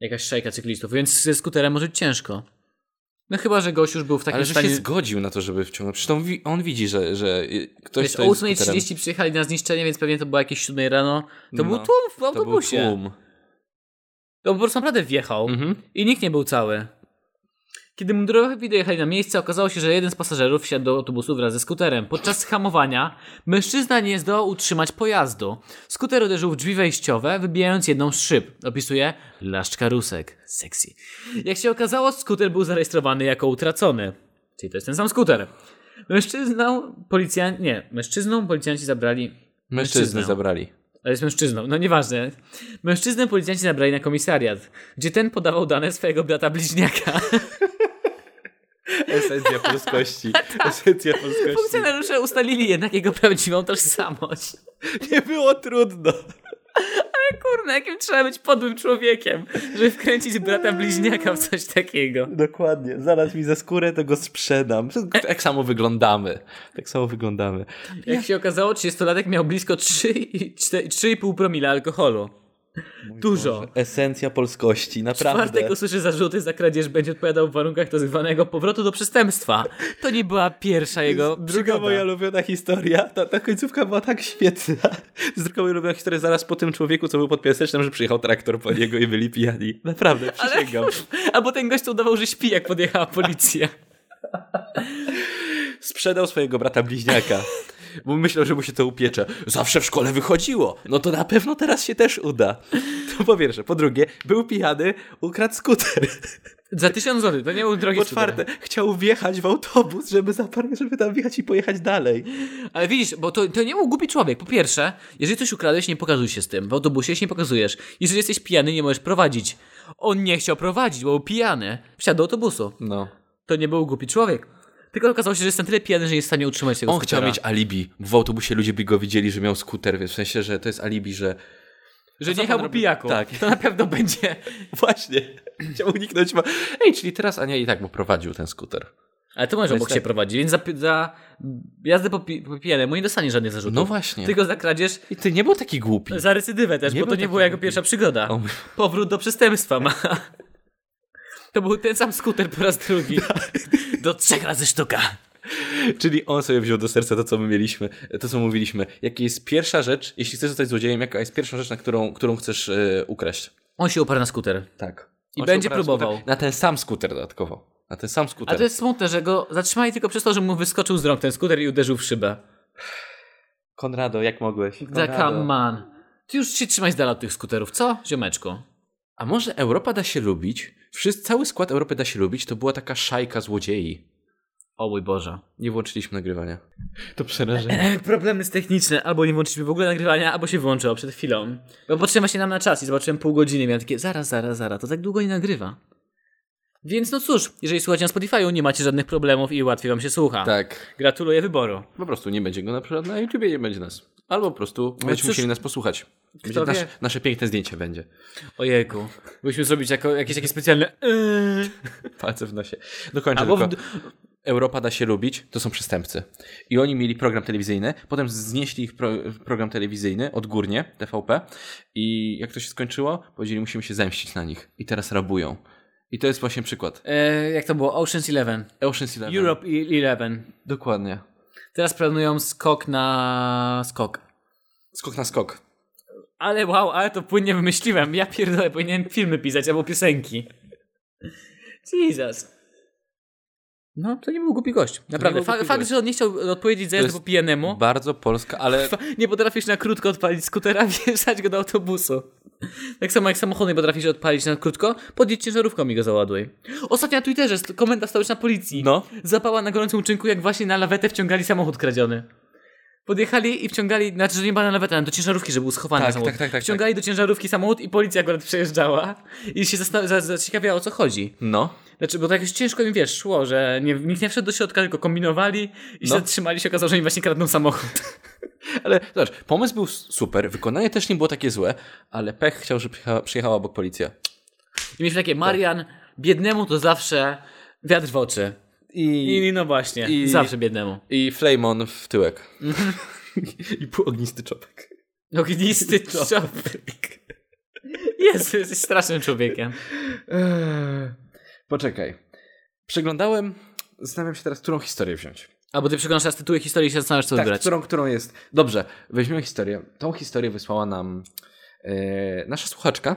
Jakaś szajka cyklistów, więc ze skuterem może być ciężko. No chyba, że gość już był w takim
Ale że
stanie...
się zgodził na to, żeby wciągnąć. Przecież on, wi- on widzi, że, że y, ktoś
Wiesz,
to
o
jest skuterem.
8.30 przyjechali na zniszczenie, więc pewnie to było jakieś 7 rano. To
No,
był tłum w
To był
autobusie. To,
tłum.
po prostu naprawdę wjechał.
Mhm.
I nikt nie był cały. Kiedy mundurowi dojechali na miejsce, okazało się, że jeden z pasażerów wsiadł do autobusu wraz ze skuterem. Podczas hamowania mężczyzna nie zdołał utrzymać pojazdu. Skuter uderzył w drzwi wejściowe, wybijając jedną z szyb. Opisuje Laszczka Rusek. Sexy. Jak się okazało, skuter był zarejestrowany jako utracony. Czyli to jest ten sam skuter. Mężczyzną policjanci... Nie, mężczyzną policjanci zabrali...
Mężczyzny zabrali.
Ale jest mężczyzną, no nieważne. Mężczyznę policjanci zabrali na komisariat, gdzie ten podawał dane swojego brata bliźniaka.
Esencja
<laughs>
polskości.
Tak.
Esencja polskości.
<laughs> Funkcjonariusze ustalili jednak jego prawdziwą tożsamość.
Nie było trudno.
Kurna, jakim trzeba być podłym człowiekiem, żeby wkręcić brata bliźniaka w coś takiego.
Dokładnie. Zaraz mi za skórę, to go sprzedam. Tak samo wyglądamy. Tak samo wyglądamy.
Jak się okazało, 30-latek miał blisko 3 i 4 3,5 promila alkoholu. Dużo.
Esencja polskości,
Czwartek usłyszy zarzuty za kradzież, będzie odpowiadał w warunkach tak zwanego powrotu do przestępstwa. To nie była pierwsza jego No, przygoda.
Druga moja ulubiona historia, ta, ta końcówka była tak świetna. <laughs> Z drugą moja ulubiona historia zaraz po tym człowieku, co był pod piasecznem, że przyjechał traktor po niego i byli pijani. Naprawdę, przysięgam.
Albo ten gość udawał, że śpi, jak podjechała policja.
Sprzedał swojego brata bliźniaka. Bo myślał, że mu się to upiecze. Zawsze w szkole wychodziło. No to na pewno teraz się też uda. To po pierwsze. Po drugie, był pijany, ukradł skuter.
Za tysiąc złotych, to nie był drogi
Po
cukier.
czwarte, chciał wjechać w autobus, żeby zaparł, żeby tam wjechać i pojechać dalej.
Ale widzisz, bo to, to nie był głupi człowiek. Po pierwsze, jeżeli coś ukradłeś, nie pokazuj się z tym. W autobusie się nie pokazujesz. Jeżeli jesteś pijany, nie możesz prowadzić. On nie chciał prowadzić, bo był pijany. Wsiadł do autobusu.
No.
To nie był głupi człowiek. Tylko okazało się, że jestem tyle pijany, że nie jest w stanie utrzymać tego
On
skutera.
chciał mieć alibi. W autobusie ludzie by go widzieli, że miał skuter, wiesz, w sensie, że to jest alibi, że
Że
co
nie
pan
jechał po
robi?
pijaku.
Tak.
To na pewno będzie.
<laughs> Właśnie. Chciał uniknąć. Ma... Ej, czyli teraz Ania i tak mu prowadził ten skuter.
Ale to możesz obok
Niestety.
się prowadzi, więc za, za jazdę po, pi- po pijanemu nie dostanie żadnych zarzutów.
No właśnie.
Tylko za kradzież,
I ty nie był taki głupi.
za recydywę też,
Nie
bo to
był
nie
taki
była jego
głupi.
pierwsza przygoda.
O,
Powrót do przestępstwa ma. To był ten sam skuter po raz drugi. Do trzech razy sztuka.
<laughs> Czyli on sobie wziął do serca to, co my mieliśmy, to, co mówiliśmy. Jaka jest pierwsza rzecz, jeśli chcesz zostać złodziejem, jaka jest pierwsza rzecz, na którą, którą chcesz e, ukraść?
On się uparł na skuter.
Tak.
I będzie próbował.
Na ten sam skuter dodatkowo. Na ten sam skuter.
A to jest smutne, że go zatrzymali tylko przez to, że mu wyskoczył z rąk ten skuter i uderzył w szybę.
Konrado, jak mogłeś?
Da,
Konrado.
come on. Ty już się trzymaj z dala od tych skuterów, co? Ziomeczku.
A może Europa da się lubić? Wszyscy, cały skład Europy da się lubić, to była taka szajka złodziei.
O mój Boże.
Nie włączyliśmy nagrywania. To przerażenie.
E, <laughs> Problemy z techniczne. Albo nie włączyliśmy w ogóle nagrywania, albo się włączyło przed chwilą. Bo patrzyłem właśnie nam na czas i zobaczyłem pół godziny. Miałem takie, zaraz, zaraz, zaraz, to tak długo nie nagrywa. Więc no cóż, jeżeli słuchacie na Spotify'u, nie macie żadnych problemów i łatwiej wam się słucha.
<laughs> Tak.
Gratuluję wyboru.
Po prostu nie będzie go na przykład na YouTubie, nie będzie nas. Albo po prostu będziecie
cóż,
musieli nas posłuchać. Będzie
wie?
nasz, nasze piękne zdjęcie będzie.
Ojejku. Musimy zrobić jako, jakieś takie specjalne... eee.
Palce w nosie. Dokończę
Albo w
tylko. Europa da się lubić, to są przestępcy. I oni mieli program telewizyjny, potem znieśli ich pro, program telewizyjny odgórnie, TVP. I jak to się skończyło? Powiedzieli, musimy się zemścić na nich. I teraz rabują. I to jest właśnie przykład.
E, jak to było? Ocean's Eleven.
Ocean's Eleven.
Europe i- Eleven.
Dokładnie.
Teraz planują skok na... skok.
Skok na skok.
Ale wow, ale to płynnie wymyśliłem. Ja pierdolę, powinienem filmy pisać albo piosenki. Jesus. No, to nie był głupi gość. Naprawdę.
był
Fa-
głupi
fakt,
gość.
że on nie chciał odpowiedzieć za
To
jazdę
jest
po pijanemu.
Bardzo polska, ale
Fa- nie potrafisz na krótko odpalić skutera, <laughs> wjeżdżać go do autobusu. Tak samo jak samochód nie potrafisz odpalić na krótko, podjedź ciężarówką i go załaduj. Ostatnio na Twitterze st- komenda stołeczna policji.
No.
Zapała na gorącym uczynku, jak właśnie na lawetę wciągali samochód kradziony. Podjechali i wciągali, znaczy, że nie była na lawetę, ale do ciężarówki, że był schowany
Tak,
samochód.
tak, tak, tak,
wciągali do ciężarówki samochód i policja akurat przejeżdżała i się zastan- za- zaciekawiała, o co chodzi.
no.
Znaczy, bo to jakoś ciężko im, wiesz, szło, że nie, nikt nie wszedł do środka, tylko kombinowali i się
No.
zatrzymali, się okazało, że im właśnie kradną samochód.
Ale zobacz, pomysł był super, wykonanie też nie było takie złe, ale pech chciał, żeby przyjechała, przyjechała obok policja.
I mieliśmy takie, Marian, biednemu to zawsze wiatr w oczy.
I,
I no właśnie,
i-
zawsze biednemu.
I Flamon w tyłek. <laughs> I półognisty czopek.
<laughs> Ognisty czopek. No. Jezu, jesteś strasznym człowiekiem.
Eee, Poczekaj. Przeglądałem, zastanawiam się teraz, którą historię wziąć.
Albo ty przeglądasz teraz tytuły historii i się zastanawiasz, co
Tak,
wybrać.
którą, którą jest. Dobrze, weźmiemy historię. Tą historię wysłała nam e, nasza słuchaczka.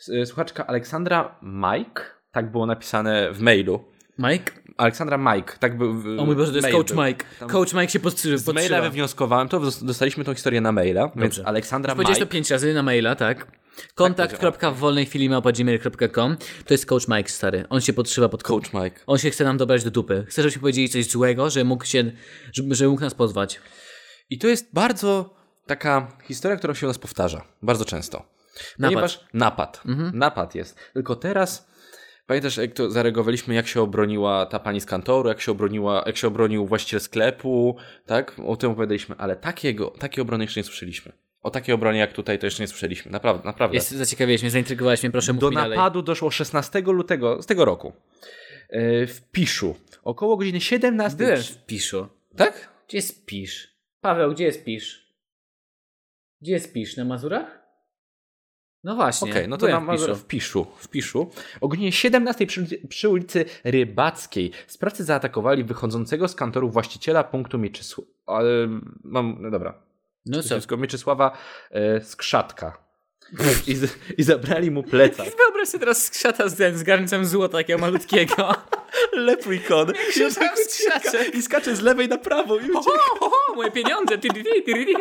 S- e, Słuchaczka Aleksandra Mike. Tak było napisane w mailu.
Mike?
Aleksandra Mike. Tak był. w-
O mój Boże, to jest
mail
Coach
był.
Mike.
Tam-
Coach Mike się podstrzyżył.
Z maila wywnioskowałem, to dos- dostaliśmy tą historię na maila, więc
Dobrze.
Aleksandra
Powiedziałeś
Mike.
to pięć razy na maila, tak? Kontakt kropka w wolnej chwili małpa gmail.com. To jest Coach Mike, stary. On się podszywa pod
Coach Mike.
On się chce nam dobrać do dupy. Chce, żebyśmy powiedzieli coś złego, żeby mógł się, żeby, żeby mógł nas pozwać.
I to jest bardzo taka historia, która się u nas powtarza. Bardzo często.
Napad. Mhm.
Ponieważ napad. Napad jest. Tylko teraz pamiętasz, jak to zareagowaliśmy, jak się obroniła ta pani z kantoru, jak się, obroniła, jak się obronił właściciel sklepu, tak? O tym opowiadaliśmy, ale takiego, takiej obrony jeszcze nie słyszeliśmy. O takiej obronie jak tutaj to jeszcze nie słyszeliśmy. Naprawdę, naprawdę.
Jest, zaciekawiłeś mnie, zaintrygowałeś mnie, proszę mów
Do
mi
napadu
dalej.
doszło 16 lutego z tego roku. Yy, W Piszu. Około godziny 17.
Byłem w Piszu.
Tak?
Gdzie jest Pisz? Paweł, gdzie jest Pisz? Gdzie jest Pisz? Na Mazurach? No właśnie.
Okej, no to
byłem
nam
w Piszu.
w Piszu. W Piszu. O godzinie 17 przy, przy ulicy Rybackiej sprawcy zaatakowali wychodzącego z kantoru właściciela punktu Mieczysława. Ale mam, no dobra.
No co?
Wszystko Mieczysława e, Skrzatka. I, z, I zabrali mu plecak.
<laughs> Wyobraź sobie teraz skrzata z, z garncem złota takiego
<laughs>
malutkiego.
Leprikon.
Krzyżak skrzaczek.
tak I skacze z lewej na prawą. I ucieka.
Ho, ho, moje pieniądze! Ty, ty, ty, ty, ty.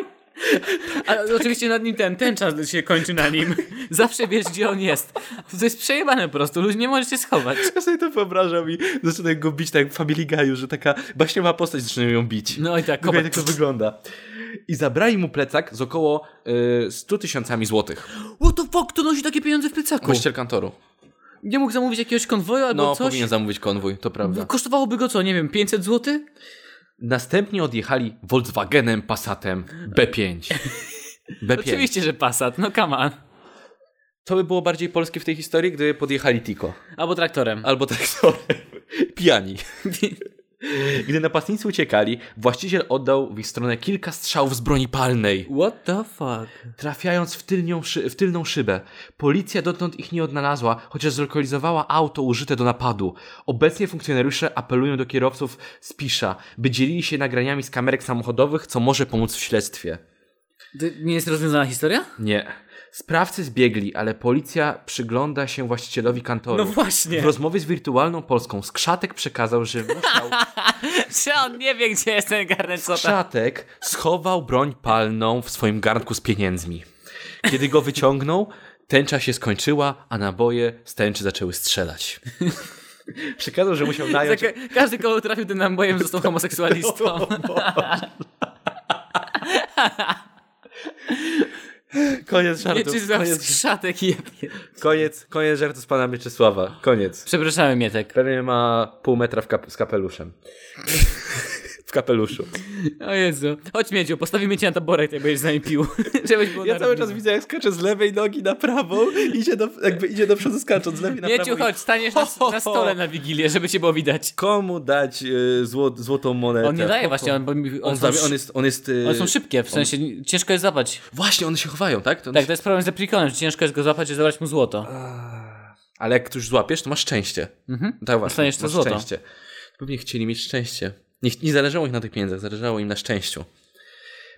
A
Tak.
oczywiście nad nim ten, ten czas się kończy na nim. Zawsze wiesz, gdzie on jest. To jest przejebane po prostu, ludzi nie możecie schować.
Ja sobie to wyobrażam i zaczynają go bić tak jak w Family Guyu, że taka baśniowa postać zaczynają ją bić.
No i tak,
Dokładnie
kopać.
tak to wygląda. I zabrali mu plecak z około y, 100 tysiącami złotych.
What the fuck, to nosi takie pieniądze w plecaku?
Kościel kantoru.
Nie mógł zamówić jakiegoś konwoju albo
No,
coś? No,
powinien zamówić konwój, to prawda.
Kosztowałoby go co, nie wiem, 500 zł?
Następnie odjechali Volkswagenem Passatem B5.
<laughs>
B5.
Oczywiście, że Passat, no come on.
To by było bardziej polskie w tej historii, gdyby podjechali Tico.
Albo traktorem.
Albo traktorem. <laughs>
<laughs>
Pijani. Gdy napastnicy uciekali, właściciel oddał w ich stronę kilka strzałów z broni palnej,
What the fuck?
trafiając w, tylnią szy- w tylną szybę. Policja dotąd ich nie odnalazła, chociaż zlokalizowała auto użyte do napadu. Obecnie funkcjonariusze apelują do kierowców z Pisza, by dzielili się nagraniami z kamerek samochodowych, co może pomóc w śledztwie.
To nie jest rozwiązana historia?
Nie. Sprawcy zbiegli, ale policja przygląda się właścicielowi kantoru.
No właśnie.
W rozmowie z wirtualną Polską Skrzatek przekazał, że musiał
<laughs> Czy on nie wie, gdzie jest ten garnet
<laughs>
sota?
Skrzatek schował broń palną w swoim garnku z pieniędzmi. Kiedy go wyciągnął, tęcza się skończyła, a naboje z tęczy zaczęły strzelać. <laughs> Przekazał, że musiał nająć... <laughs>
Zaka- Każdy, kogo trafił tym nabojem, został homoseksualistą.
Koniec
Nie
żartu.
czytam
Koniec,
skrzatek i jebie.
koniec, koniec żartu z pana Mieczysława. Koniec.
Przepraszamy, Mietek.
Pewnie ma pół metra w kap- z kapeluszem. <laughs> w kapeluszu.
O Jezu. Chodź, Miedziu, postawimy cię na taborek, jak będziesz z nami pił. <laughs> Żebyś był
Ja cały czas widzę, jak skacze z lewej nogi na prawą, idzie do, jakby idzie do przodu skacząc z lewej na
Mieciu,
prawą. i-
chodź, staniesz na,
Ho, ho,
na
ho.
stole na Wigilię, żeby cię było widać.
Komu dać y, zło, złotą monetę?
On nie daje właśnie, on, bo mi-
On,
on,
za-
są,
on jest... On jest y,
one Tak, są szybkie, w sensie ciężko jest zapać.
Właśnie, one się chowają, tak? To one
Tak,
się...
to jest problem z Lepriconem, że ciężko jest go złapać i zabrać mu złoto.
Ale jak już złapiesz, to masz szczęście.
Mhm.
Tak właśnie,
Dostaniesz to
masz
złoto.
szczęście. Pewnie chcieli mieć szczęście. Nie, nie zależało ich na tych pieniądzach, zależało im na szczęściu.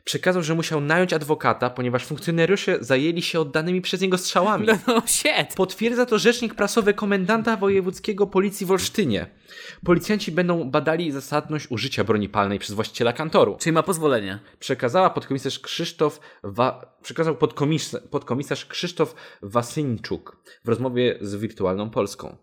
Przekazał, że musiał nająć adwokata, ponieważ funkcjonariusze zajęli się oddanymi przez niego strzałami.
No, no shit!
Potwierdza to rzecznik prasowy komendanta wojewódzkiego policji w Olsztynie. Policjanci będą badali zasadność użycia broni palnej przez właściciela kantoru.
Czyli ma pozwolenie.
Przekazała podkomisarz Krzysztof Wa... przekazał podkomis... podkomisarz Krzysztof Wasyńczuk w rozmowie z Wirtualną Polską.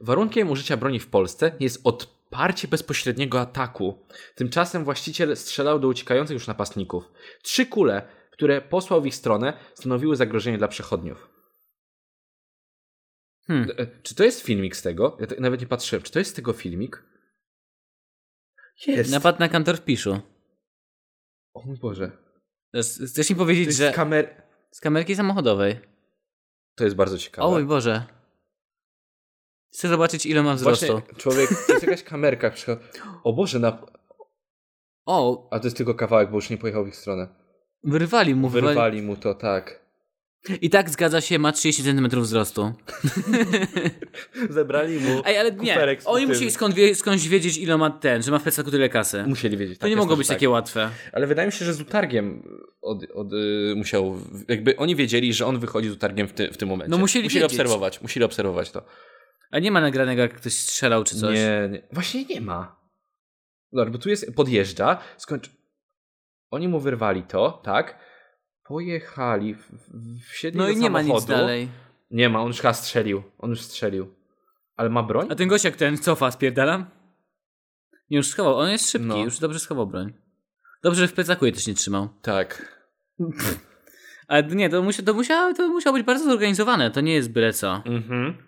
Warunkiem użycia broni w Polsce jest odparcie bezpośredniego ataku. Tymczasem właściciel strzelał do uciekających już napastników. Trzy kule, które posłał w ich stronę, stanowiły zagrożenie dla przechodniów.
Hmm.
E, Czy to jest filmik z tego? Ja te- nawet nie patrzyłem. Czy to jest z tego filmik? Jest.
Napad na kantor w Piszu.
O mój Boże.
Z- Chcesz mi
To
powiedzieć,
jest,
że
z kamer...
z kamerki samochodowej.
to jest bardzo ciekawe.
O mój Boże. Chcę zobaczyć, ile mam wzrostu.
Właśnie człowiek, to jest
<laughs>
jakaś kamerka. przycho- O Boże, na...
O,
a to jest tylko kawałek, bo już nie pojechał w ich stronę.
wyrwali mu. Wyrwali.
Wyrwali mu to, tak.
I tak zgadza się, ma 30 cm wzrostu.
Zebrali mu
Ej, ale nie.
kuferek z
Oni
tym.
musieli skąd wie, skądś wiedzieć, ile ma ten, że ma w plecaku tyle kasy.
Musieli wiedzieć.
To nie
jest
mogło
też
być
tak.
takie łatwe.
Ale wydaje mi się, że z utargiem od, od, y, musiał, w- jakby oni wiedzieli, że on wychodzi z utargiem w, ty, w tym momencie.
No musieli
musieli
wiedzieć.
obserwować, musieli obserwować to.
A nie ma nagranego, jak ktoś strzelał czy coś.
Nie, nie, właśnie nie ma. Dobra, bo tu jest, podjeżdża, skończ... Oni mu wyrwali to, tak? Pojechali, w, w, wsiedli
No
do
i nie ma nic
samochodu.
dalej.
Nie ma, on już chyba strzelił. On już strzelił. Ale ma broń?
A ten gość jak ten cofa, spierdalam? Nie, już schował. On jest szybki,
No.
już dobrze schował broń. Dobrze, że w plecaku jej też nie trzymał.
Tak.
Ale nie, to, musia, to, musiało, to musiało być bardzo zorganizowane. To nie jest byle co.
Mhm.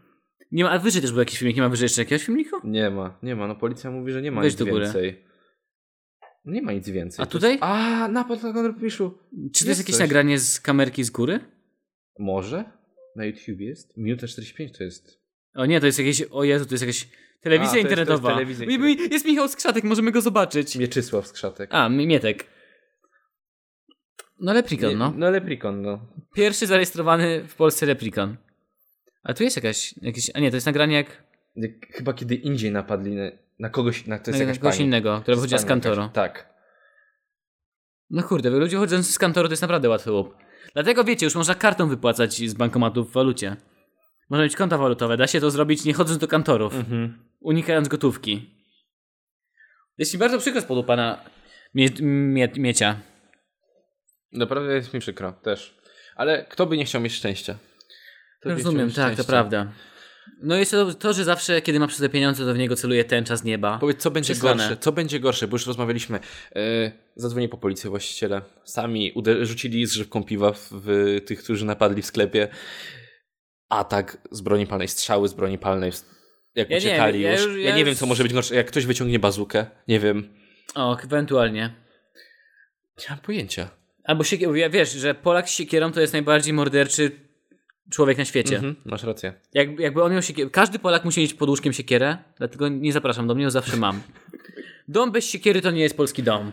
Nie ma, a wyżej też był jakiś filmik. Nie ma wyżej jeszcze jakiegoś filmiku?
Nie ma, nie ma. No policja mówi, że nie ma
Weź
nic
do góry.
więcej. Nie ma nic więcej.
A
To
tutaj?
Jest... A, napad na Gondorpiszu.
Czy to
Jest
jest jakieś
coś.
nagranie z kamerki z góry?
Może? Na YouTube jest? Minuta 45 to jest.
O nie, to jest jakieś. O Jezu, to jest jakaś. Telewizja
A, to jest- to jest
internetowa.
telewizja
Mi- mi- jest Michał Skrzatek, możemy go zobaczyć.
Mieczysław Skrzatek.
A, mi- Mietek. No, Leprikon, no.
No Leprikon, no.
Pierwszy zarejestrowany w Polsce Leprikon. A tu jest jakaś. Jakieś, a nie, to jest nagranie jak.
Jak- Chyba kiedy indziej napadli na, na kogoś, na to jest
na
jakaś
kogoś
pani.
innego, która
To jest
wychodziła z
pani
kantoru.
jakaś- Tak.
No kurde, wy ludzie chodzący z kantoru to jest naprawdę łatwy łup. Dlatego wiecie, już można kartą wypłacać z bankomatu w walucie. Można mieć konta walutowe, da się to zrobić nie chodząc do kantorów,
Mhm.
unikając gotówki. Jest mi bardzo przykro z powodu pana mie- mie- Miecia.
Naprawdę jest mi przykro, też. Ale kto by nie chciał mieć szczęścia? Kto by nie chciał
Rozumiem,
mieć
tak, to
szczęścia?
prawda. No i jeszcze to- to, że zawsze, kiedy ma przy sobie pieniądze, to w niego celuje tęcza z nieba.
Powiedz, co będzie
Przesłane.
gorsze, co będzie gorsze, bo już rozmawialiśmy. Yy, zadzwonię po policję właściciele. Sami uder- rzucili z grzybką piwa w, w tych, którzy napadli w sklepie. Atak z broni palnej, strzały z broni palnej. Jak
Ja nie
uciekali
wiem, ja
już.
już-
ja
ja
nie wiem,
już-
co może być gorsze. Jak ktoś wyciągnie bazukę, nie wiem.
O, ewentualnie.
Nie mam pojęcia.
Albo siekier... ja wiesz, że Polak z siekierą to jest najbardziej morderczy człowiek na świecie.
Mhm, masz rację.
Jak, jakby on miał siekierę. Każdy Polak musi mieć pod łóżkiem siekierę, dlatego nie zapraszam do mnie, ją zawsze mam. Dom bez siekiery to nie jest polski dom.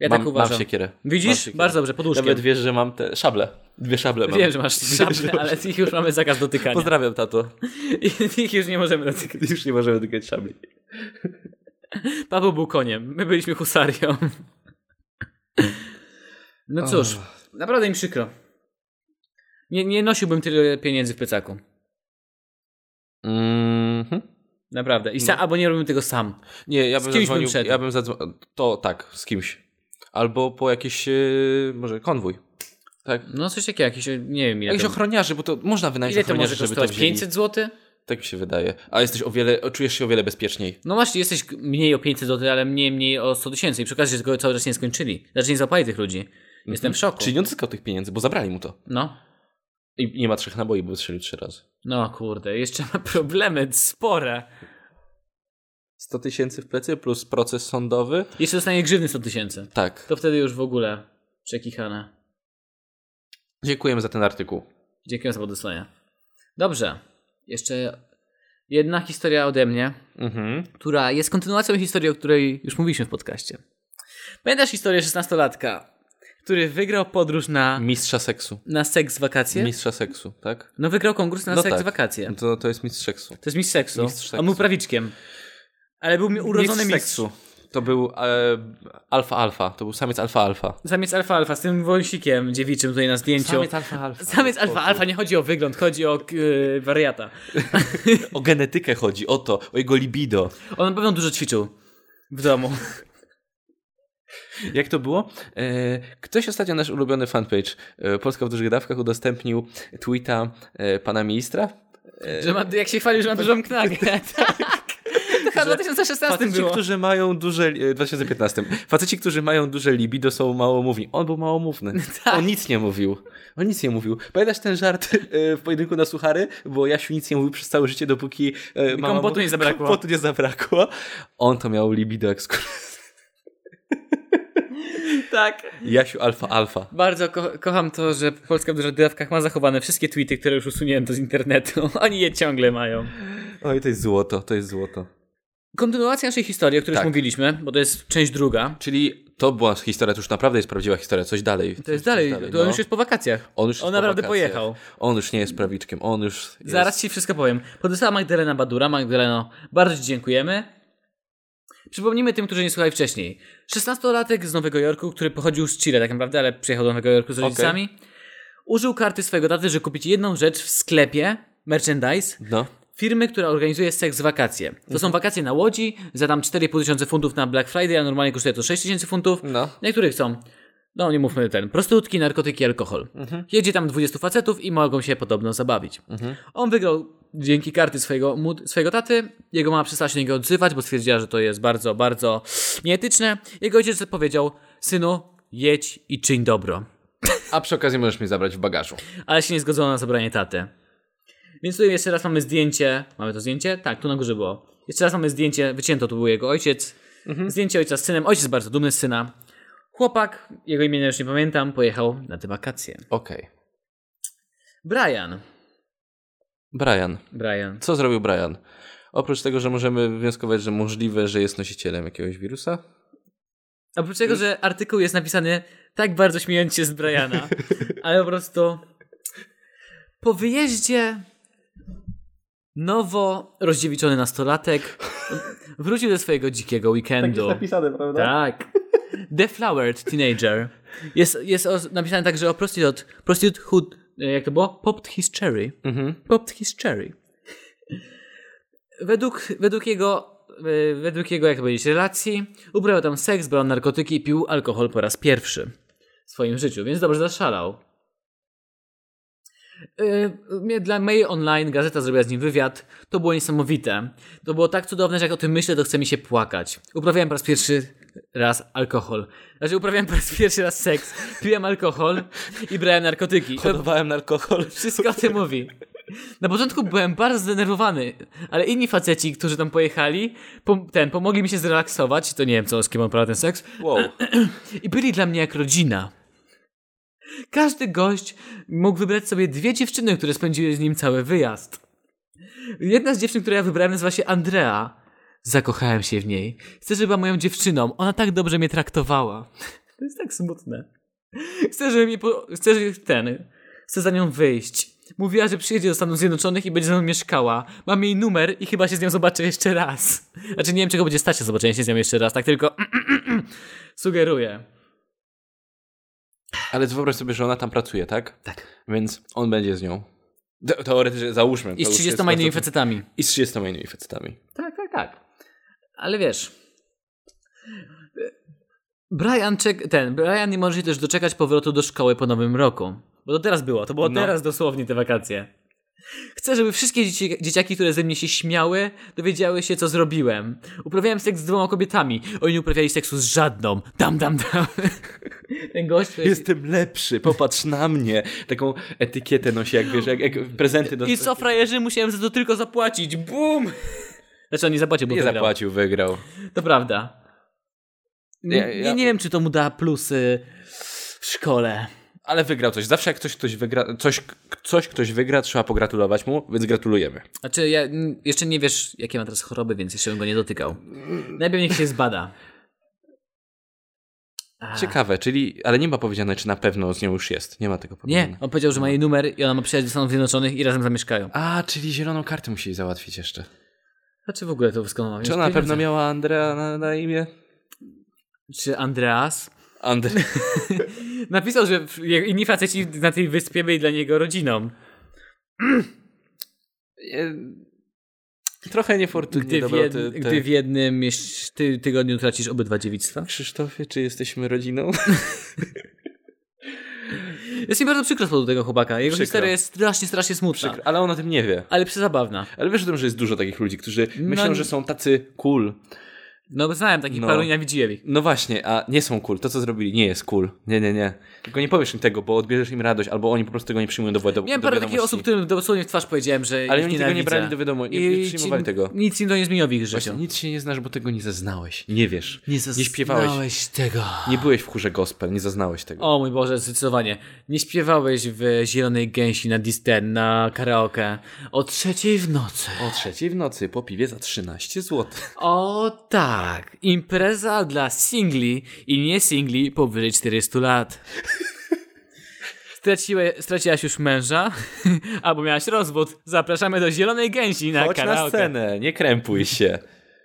Ja
mam,
tak uważam.
Mam siekierę. Mam
Widzisz?
siekierę.
Bardzo dobrze, pod łóżkiem.
Nawet wiesz, że mam te szable. Dwie szable mam.
Wiem, że masz szable, ale ich już mamy zakaz dotykania.
<laughs> Pozdrawiam, tato.
ich już nie możemy dotykać.
Już nie możemy dotykać szabli.
Paweł był koniem, my byliśmy husarią. No cóż, naprawdę im przykro. Nie, nie nosiłbym tyle pieniędzy w plecaku.
Mhm.
Naprawdę. I sa, albo nie robiłbym tego sam.
Nie, ja
Z
bym
kimś bym
zadzwonił.
szedł.
ja bym zadzwonił. To tak, z kimś. Albo po jakiś, e, może konwój. Tak.
No coś takiego, jakiś, nie wiem ile
Jakiś
to,
ochroniarzy, bo to można wynająć
ile to
ochroniarzy,
może
żeby to
kosztować?
wzięli.
500 zł?
Tak mi się wydaje. A jesteś o wiele, o, czujesz się o wiele bezpieczniej.
No właśnie, jesteś mniej o 500 zł, ale mniej, mniej o 100 tysięcy. I przy okazji, że tego cały czas nie skończyli. Znaczy nie złapali tych ludzi. Jestem w szoku.
Czyli nie odzyskał tych pieniędzy, bo zabrali mu to.
No.
I nie ma trzech naboi, bo strzelił trzy razy.
No kurde, jeszcze ma problemy spore.
100 tysięcy w plecy plus proces sądowy.
Jeszcze dostanie grzywny 100 tysięcy.
Tak.
To wtedy już w ogóle przekichane.
Dziękujemy za ten artykuł.
Dziękuję za podesłanie. Dobrze. Jeszcze jedna historia ode mnie,
Mhm.
która jest kontynuacją historii, o której już mówiliśmy w podcaście. Pamiętasz historię 16-latka, który wygrał podróż na,
Mistrza seksu.
na seks wakacje?
Mistrza seksu, tak?
No wygrał konkurs na
No
seks
tak.
wakacje.
No To, to jest mistrz seksu.
To jest mistrz seksu.
Mistrz seksu.
On był prawiczkiem. Ale był mi- urodzony
Mistrz
mistrz.
seksu. To był e, alfa alfa. To był samiec alfa alfa.
Zamiast alfa alfa z tym wąsikiem dziewiczym tutaj na zdjęciu.
alfa <laughs> alfa.
Zamiast alfa alfa nie chodzi o wygląd, chodzi o yy, wariata.
O genetykę chodzi, o to, o jego libido.
On na pewno dużo ćwiczył w
<laughs>
domu.
Jak to było? E, ktoś ostatnio, nasz ulubiony fanpage e, Polska w dużych dawkach udostępnił tweeta e, pana ministra. E,
Że ma, jak się chwalił, że ma dużą
<laughs>
knagę. tak. To chyba w 2016
Faceci,
było.
którzy mają duże... e, 2015. Faceci, którzy mają duże libido są małomówni. On był małomówny.
<laughs> Tak.
On nic nie mówił. On nic nie mówił. Pamiętasz ten żart e, w pojedynku na suchary? Bo Jasiu nic nie mówił przez całe życie, dopóki... E, mama mu-
Kompotu nie zabrakło.
Kompotu nie zabrakło. On to miał libido ekskluzywne.
Tak.
Jasiu alfa alfa.
Bardzo ko- kocham to, że Polska w dużych dawkach ma zachowane wszystkie tweety, które już usunięto z internetu. <laughs> Oni je ciągle mają.
Oj, No to jest złoto, to jest złoto.
Kontynuacja naszej historii, o której
Tak.
już mówiliśmy, bo to jest część druga.
Czyli to była historia, to już naprawdę jest prawdziwa historia, coś dalej.
To jest
Coś
dalej, to on
no.
już jest po wakacjach.
On, już jest
on
po
naprawdę
wakacjach.
pojechał.
On już nie jest prawiczkiem, on już jest...
Zaraz ci wszystko powiem. Podesłała Magdalena Badura. Magdaleno, bardzo ci dziękujemy. Przypomnijmy tym, którzy nie słuchali wcześniej. 16-latek z Nowego Jorku, który pochodził z Chile tak naprawdę, ale przyjechał do Nowego Jorku z rodzicami. Użył karty swojego taty, żeby kupić jedną rzecz w sklepie, merchandise,
No.
firmy, która organizuje seks wakacje. To są wakacje na Łodzi, za tam 4,5 tysiąca funtów na Black Friday, a normalnie kosztuje to 6 tysięcy funtów.
No.
Niektórych są, no nie mówmy ten, prostytutki, narkotyki, alkohol. Jedzie tam 20 facetów i mogą się podobno zabawić. On wygrał dzięki karty swojego, mu- swojego taty. Jego mama przestała się do niego odzywać, bo stwierdziła, że to jest bardzo, bardzo nieetyczne. Jego ojciec powiedział, synu, jedź i czyń dobro.
A przy okazji możesz mnie zabrać w bagażu.
Ale się nie zgodzono na zabranie taty. Więc tutaj jeszcze raz mamy zdjęcie. Mamy to zdjęcie? Tak, tu na górze było. Jeszcze raz mamy zdjęcie. Wycięto to był jego ojciec. Zdjęcie ojca z synem. Ojciec bardzo dumny z syna. Chłopak, jego imienia już nie pamiętam, pojechał na te wakacje.
Okej.
Brian.
Brian.
Brian.
Co zrobił Brian? Oprócz tego, że możemy wnioskować, że możliwe, że jest nosicielem jakiegoś wirusa.
A Oprócz tego, że artykuł jest napisany tak bardzo śmiejąc się z Briana, ale po prostu po wyjeździe nowo rozdziewiczony nastolatek wrócił do swojego dzikiego weekendu.
napisane, prawda?
Tak. The Flowered Teenager. Jest, jest o, napisane także o prostitute. Prostitute who, e, jak to było? Popped his cherry.
Mhm.
Popped his cherry. Według, według jego, e, według jego, jak to powiedzieć, relacji, uprawiał tam seks, brał narkotyki i pił alkohol po raz pierwszy w swoim życiu, więc dobrze zaszalał. E, mnie- Dla Mail Online gazeta zrobiła z nim wywiad. To było niesamowite. To było tak cudowne, że jak o tym myślę, to chce mi się płakać. Uprawiałem po raz pierwszy raz alkohol. Znaczy, uprawiałem po raz pierwszy raz seks. Piłem alkohol i brałem narkotyki.
Hodowałem na alkohol.
Wszystko o tym mówi. Na początku byłem bardzo zdenerwowany, ale inni faceci, którzy tam pojechali, pom- ten, pomogli mi się zrelaksować. To nie wiem, co, z kim on prawie ten seks.
Wow.
I byli dla mnie jak rodzina. Każdy gość mógł wybrać sobie dwie dziewczyny, które spędziły z nim cały wyjazd. Jedna z dziewczyn, które ja wybrałem, nazywa się Andrea. Zakochałem się w niej. Chcę, żeby była moją dziewczyną. Ona tak dobrze mnie traktowała. <laughs> To jest tak smutne. Chcę, żeby mi po... Chcę, żeby ten... Chcę za nią wyjść. Mówiła, że przyjedzie do Stanów Zjednoczonych i będzie ze mną mieszkała. Mam jej numer i chyba się z nią zobaczę jeszcze raz. Znaczy nie wiem, czego będzie stać się zobaczenie się z nią jeszcze raz. Tak tylko <clears throat> sugeruję.
Ale wyobraź sobie, że ona tam pracuje, tak?
Tak.
Więc on będzie z nią. Te- Teoretycznie, załóżmy.
I z
to już
30
jest
innymi
bardzo-
facetami.
I z 30 innymi facetami.
Tak, tak, tak. Ale wiesz. Brian czek- ten, Brian nie może się też doczekać powrotu do szkoły po nowym roku. Bo to teraz było, to było
No.
teraz dosłownie te wakacje. Chcę, żeby wszystkie dzieci- dzieciaki, które ze mnie się śmiały, dowiedziały się, co zrobiłem. Uprawiałem seks z dwoma kobietami. Oni nie uprawiali seksu z żadną. Dam, dam, dam. <laughs> Ten gość... który-
Jestem lepszy, popatrz na mnie. Taką etykietę nosi, jak wiesz, jak, jak prezenty do...
I co, frajerzy, musiałem za to tylko zapłacić. Bum! Znaczy on nie zapłacił, bo
Nie
wygrał.
zapłacił, wygrał.
To prawda. Nie,
Ja- ja-
nie, nie wiem, czy to mu da plusy w szkole.
Ale wygrał coś. Zawsze jak ktoś, ktoś wygra, coś, coś ktoś wygra, trzeba pogratulować mu, więc gratulujemy.
Znaczy, ja, m, jeszcze nie wiesz, jakie ma teraz choroby, więc jeszcze bym go nie dotykał. Najpierw niech się zbada. A,
Ciekawe, czyli, ale nie ma powiedziane, czy na pewno z nią już jest. Nie ma tego powiedziane.
Nie, on powiedział, że ma jej numer i ona ma przyjechać do Stanów Zjednoczonych i razem zamieszkają.
A, czyli zieloną kartę musieli załatwić jeszcze.
A czy w ogóle to wszystko ma
Czy ona na pewno miała Andrea na, na imię?
Czy Andreas
Andre...
napisał, że w- je- inni faceci na tej wyspie byli dla niego rodziną.
E, <laughs> Trochę niefortunnie
Gdy, w,
dobrał
jed...
te- te-
gdy w jednym mieś... ty, tygodniu tracisz obydwa dziewictwa.
Krzysztofie, czy jesteśmy <laughs> rodziną?
Jest mi bardzo przykro z powodu tego chłopaka. Jego
Przykro.
historia jest strasznie, strasznie smutna.
Przykro, ale on o tym nie wie.
Ale przezabawna.
Ale wiesz o tym, że jest dużo takich ludzi, którzy
No
myślą,
nie-
że są tacy cool.
No bo znałem takich
No.
paru i nienawidziłem ich.
No właśnie, a nie są cool. To, co zrobili, nie jest cool. Nie, nie, nie. Tylko nie powiesz im tego, bo odbierzesz im radość, albo oni po prostu tego nie przyjmują do, wi- do,
Miałem
do
parę
wiadomości.
takich osób, którym dosłownie w twarz powiedziałem, że
Ale
ich
oni tego nie
nienawidzę.
brali do wiadomości, nie,
I
nie
ci-
przyjmowali tego.
Nic im to nie zmieniło w ich życiu.
Właśnie, nic się nie znasz, bo tego nie zaznałeś. Nie wiesz.
zaznałeś
śpiewałeś.
tego.
Nie byłeś w chórze gospel, nie zaznałeś tego.
O mój Boże, zdecydowanie. Nie śpiewałeś w Zielonej Gęsi na Disten, na karaoke o trzeciej w nocy.
O trzeciej w nocy po piwie za 13 zł.
O tak, impreza dla singli i nie singli powyżej 400
<laughs>
lat. Straciłe, straciłaś już męża <laughs> albo miałaś rozwód. Zapraszamy do Zielonej Gęsi na
Chodź na
karaoke.
scenę, nie krępuj się.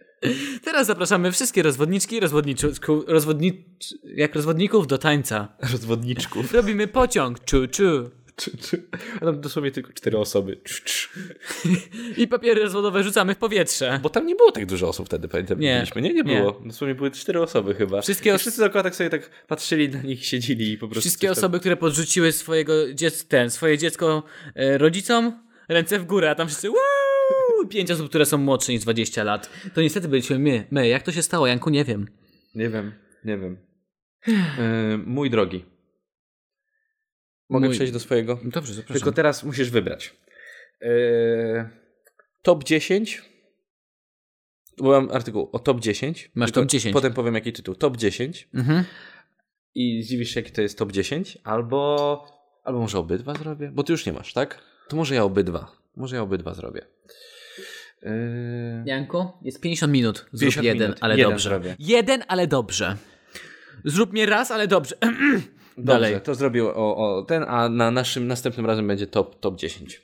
<laughs>
Teraz zapraszamy wszystkie rozwodniczki i rozwodniczu- rozwodni- jak rozwodników do tańca.
Rozwodniczków.
Robimy pociąg, czu czu.
Czy- czy- A Tam dosłownie tylko cztery osoby. Cz, cz.
I papiery rozwodowe rzucamy w powietrze.
Bo tam nie było tak dużo osób wtedy, pamiętam,
Nie.
nie, byliśmy. Nie, nie
Nie.
było. Dosłownie były cztery osoby chyba.
Wszystkie
I
os-
Wszyscy dookoła tak sobie tak patrzyli na nich, siedzieli i po prostu...
Wszystkie
coś tam-
osoby, które podrzuciły swojego dziec- ten, swoje dziecko e, rodzicom, ręce w górę, a tam wszyscy "Woo!" Pięć osób, które są młodsze niż 20 lat. To niestety byliśmy my. My. Jak to się stało, Janku? Nie wiem.
Nie wiem, nie wiem. E, mój drogi. Mogę
Mój-
przejść do swojego?
Dobrze, zapraszam.
Tylko teraz musisz wybrać. E, top 10. Bo mam artykuł o top 10.
Masz
Tylko
top 10.
Potem powiem jaki tytuł. Top 10.
Mhm.
i zdziwisz się, jaki to jest top 10, albo, albo może obydwa zrobię, bo ty już nie masz, tak? To może ja obydwa. Może ja obydwa zrobię. Yy...
Janku, jest 50 minut. Zrób
50
jeden,
minut.
ale
Jeden
dobrze.
zrobię.
Jeden, ale dobrze. Zrób mnie raz, ale dobrze. <clears throat>
Dobrze,
dalej.
to zrobię o, o ten, a na naszym następnym razem będzie top, top 10.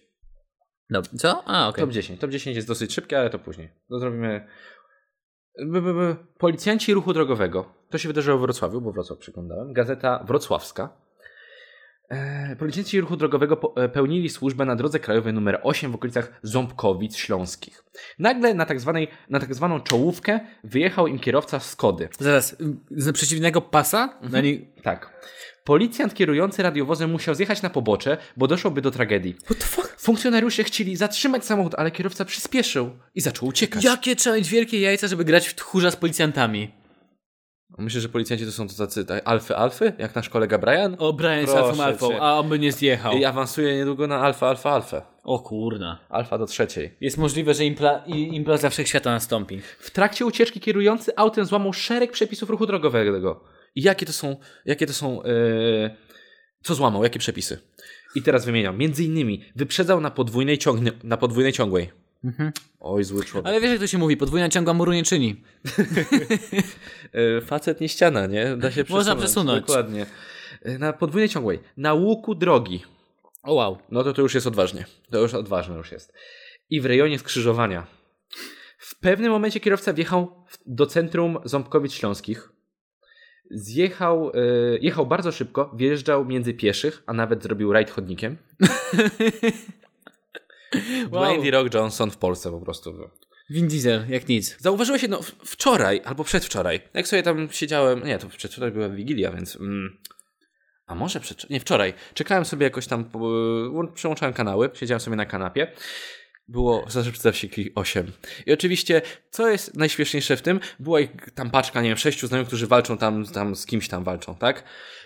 Dobrze. Co? A, okej.
Top 10. Top 10 jest dosyć szybkie, ale to później. To zrobimy. B, b, b. Policjanci ruchu drogowego. To się wydarzyło w Wrocławiu, bo Wrocław przeglądałem. Gazeta Wrocławska. E, Policjanci ruchu drogowego po- e, pełnili służbę na drodze krajowej nr 8 w okolicach Ząbkowic Śląskich. Nagle na tak, zwanej, na tak zwaną czołówkę wyjechał im kierowca Skody.
Zaraz, z przeciwnego pasa? Na nie...
Tak. Policjant kierujący radiowozem musiał zjechać na pobocze, bo doszłoby do tragedii.
What the fuck?
Funkcjonariusze chcieli zatrzymać samochód, ale kierowca przyspieszył i zaczął uciekać.
Jakie trzeba mieć wielkie jajca, żeby grać w tchórza z policjantami?
Myślę, że policjanci to są to tacy tak, alfy alfy, jak nasz kolega Brian.
O, Brian jest
Proszę
alfą alfą,
cię.
a on by nie zjechał.
I awansuje niedługo na alfa, alfa, alfę.
O kurna.
Alfa do trzeciej.
Jest możliwe, że impla... i- implaza wszechświata nastąpi.
W trakcie ucieczki kierujący autem złamał szereg przepisów ruchu drogowego. I jakie to są, jakie to są e, Co złamał? Jakie przepisy? I teraz wymieniam. Między innymi wyprzedzał na podwójnej, ciągnie, na podwójnej ciągłej. Oj, zły człowiek.
Ale wiesz, jak to się mówi, podwójna ciągła muru nie czyni.
E, Facet nie ściana, nie? Da się przesunąć.
<laughs> Można przesunąć.
Dokładnie. E, Na podwójnej ciągłej. Na łuku drogi.
O wow.
No to to już jest odważnie. To już odważne już jest. I w rejonie skrzyżowania. W pewnym momencie kierowca wjechał w- do centrum Ząbkowic Śląskich. Zjechał, e, jechał bardzo szybko, wjeżdżał między pieszych, a nawet zrobił
<laughs>
rajd chodnikiem. Dwayne The Rock Johnson w Polsce po prostu.
Vin Diesel, jak nic.
Zauważyłeś jedno w- wczoraj albo przedwczoraj. Jak sobie tam siedziałem, nie, to przedwczoraj była Wigilia, więc. Mm, a może przed, nie wczoraj. Czekałem sobie jakoś tam, po- łą- przełączałem kanały, siedziałem sobie na kanapie. Było zażywca wsiekli 8. I oczywiście, co jest najśmieszniejsze w tym, była ich tam paczka, nie wiem, sześciu znajomych, którzy walczą tam, tam z kimś tam walczą, tak?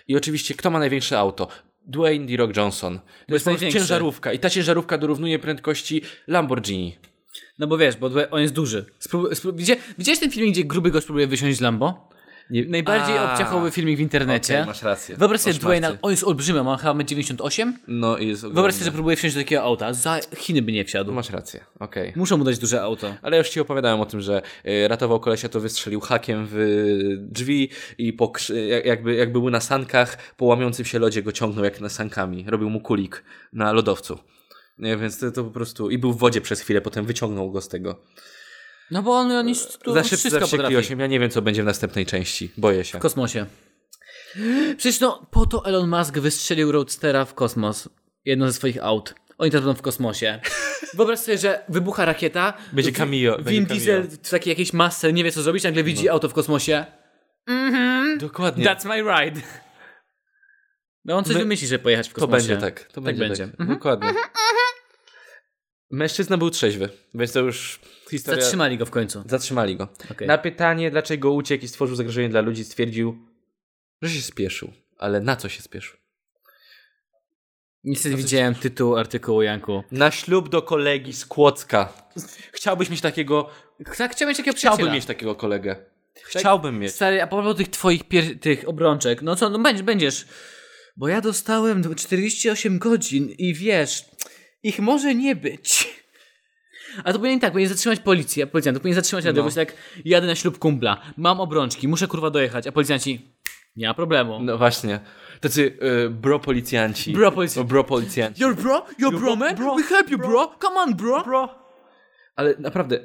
I oczywiście, kto ma największe auto? Dwayne D. Rock Johnson. To jest, po prostu
największy.
ciężarówka. I ta ciężarówka dorównuje prędkości Lamborghini.
No bo wiesz, bo dwe- on jest duży. Sprób- sprób- Gdzie, widziałeś ten filmik, gdzie gruby gość próbuje wysiąść z Lambo? Najbardziej
A.
obciachowy filmik w internecie.
Okej, masz rację.
Wyobraź sobie
Koszmarcy.
Dwayna, on jest olbrzymy, on chyba ma 98?
No i jest ogromny.
Wyobraź sobie, że próbuje wsiąść do takiego auta. Za Chiny by nie wsiadł.
Masz rację, okej.
Muszą mu dać duże auto.
Ale już ci opowiadałem o tym, że y, ratował kolesia, to wystrzelił hakiem w y, drzwi i po, krzy- jak- jakby, jak był na sankach, po łamiącym się lodzie go ciągnął jak na sankami. Robił mu kulik na lodowcu. Nie, więc to, to po prostu... I był w wodzie przez chwilę, potem wyciągnął go z tego.
No bo on, on jest tu
Za
on
szybko,
wszystko
za
potrafi.
wściekli 8. Ja nie wiem, co będzie w następnej części. Boję się.
W kosmosie. Przecież no, po to Elon Musk wystrzelił Roadstera w kosmos. Jedno ze swoich aut. Oni tam będą w kosmosie. Wyobraź sobie, że wybucha rakieta.
Będzie
Wi-
cameo, będzie
Vin
cameo. No.
Diesel w takiej jakiejś masce nie wie co zrobić, nagle widzi auto w kosmosie.
Dokładnie.
That's my ride. No on coś
My-
wymyśli, że pojechać w
To
kosmosie.
będzie tak. To będzie, tak.
będzie. Mhm.
Dokładnie. Mężczyzna był trzeźwy, więc to już historia... Tak.
Zatrzymali go w końcu.
Zatrzymali go.
Okej.
Na pytanie, dlaczego uciekł i stworzył zagrożenie dla ludzi, stwierdził, że się spieszył. Ale na co się spieszył?
Niestety widziałem tytuł artykułu Janku.
Na ślub do kolegi z Kłodzka. Chciałbyś mieć takiego.
Tak, chciałem mieć takiego
Chciałbym
przyjaciela.
mieć takiego kolegę. Chciałbym mieć.
Stary, a propos tych twoich pier- tych obrączek, no co, no będziesz, będziesz. Bo ja dostałem d- 48 godzin i wiesz, ich może nie być. A to powinien tak, powinien zatrzymać policję, policjant, powinien zatrzymać radę,
No.
bo jest tak, jadę na ślub kumpla, mam obrączki, muszę kurwa dojechać, a policjanci, nie ma problemu.
No właśnie. Tacy y, bro policjanci.
Bro polic-
Bro policjanci.
Your bro? Your
Your
bro,
bro-
man?
bro,
We help you, bro. Come on, bro.
Ale naprawdę.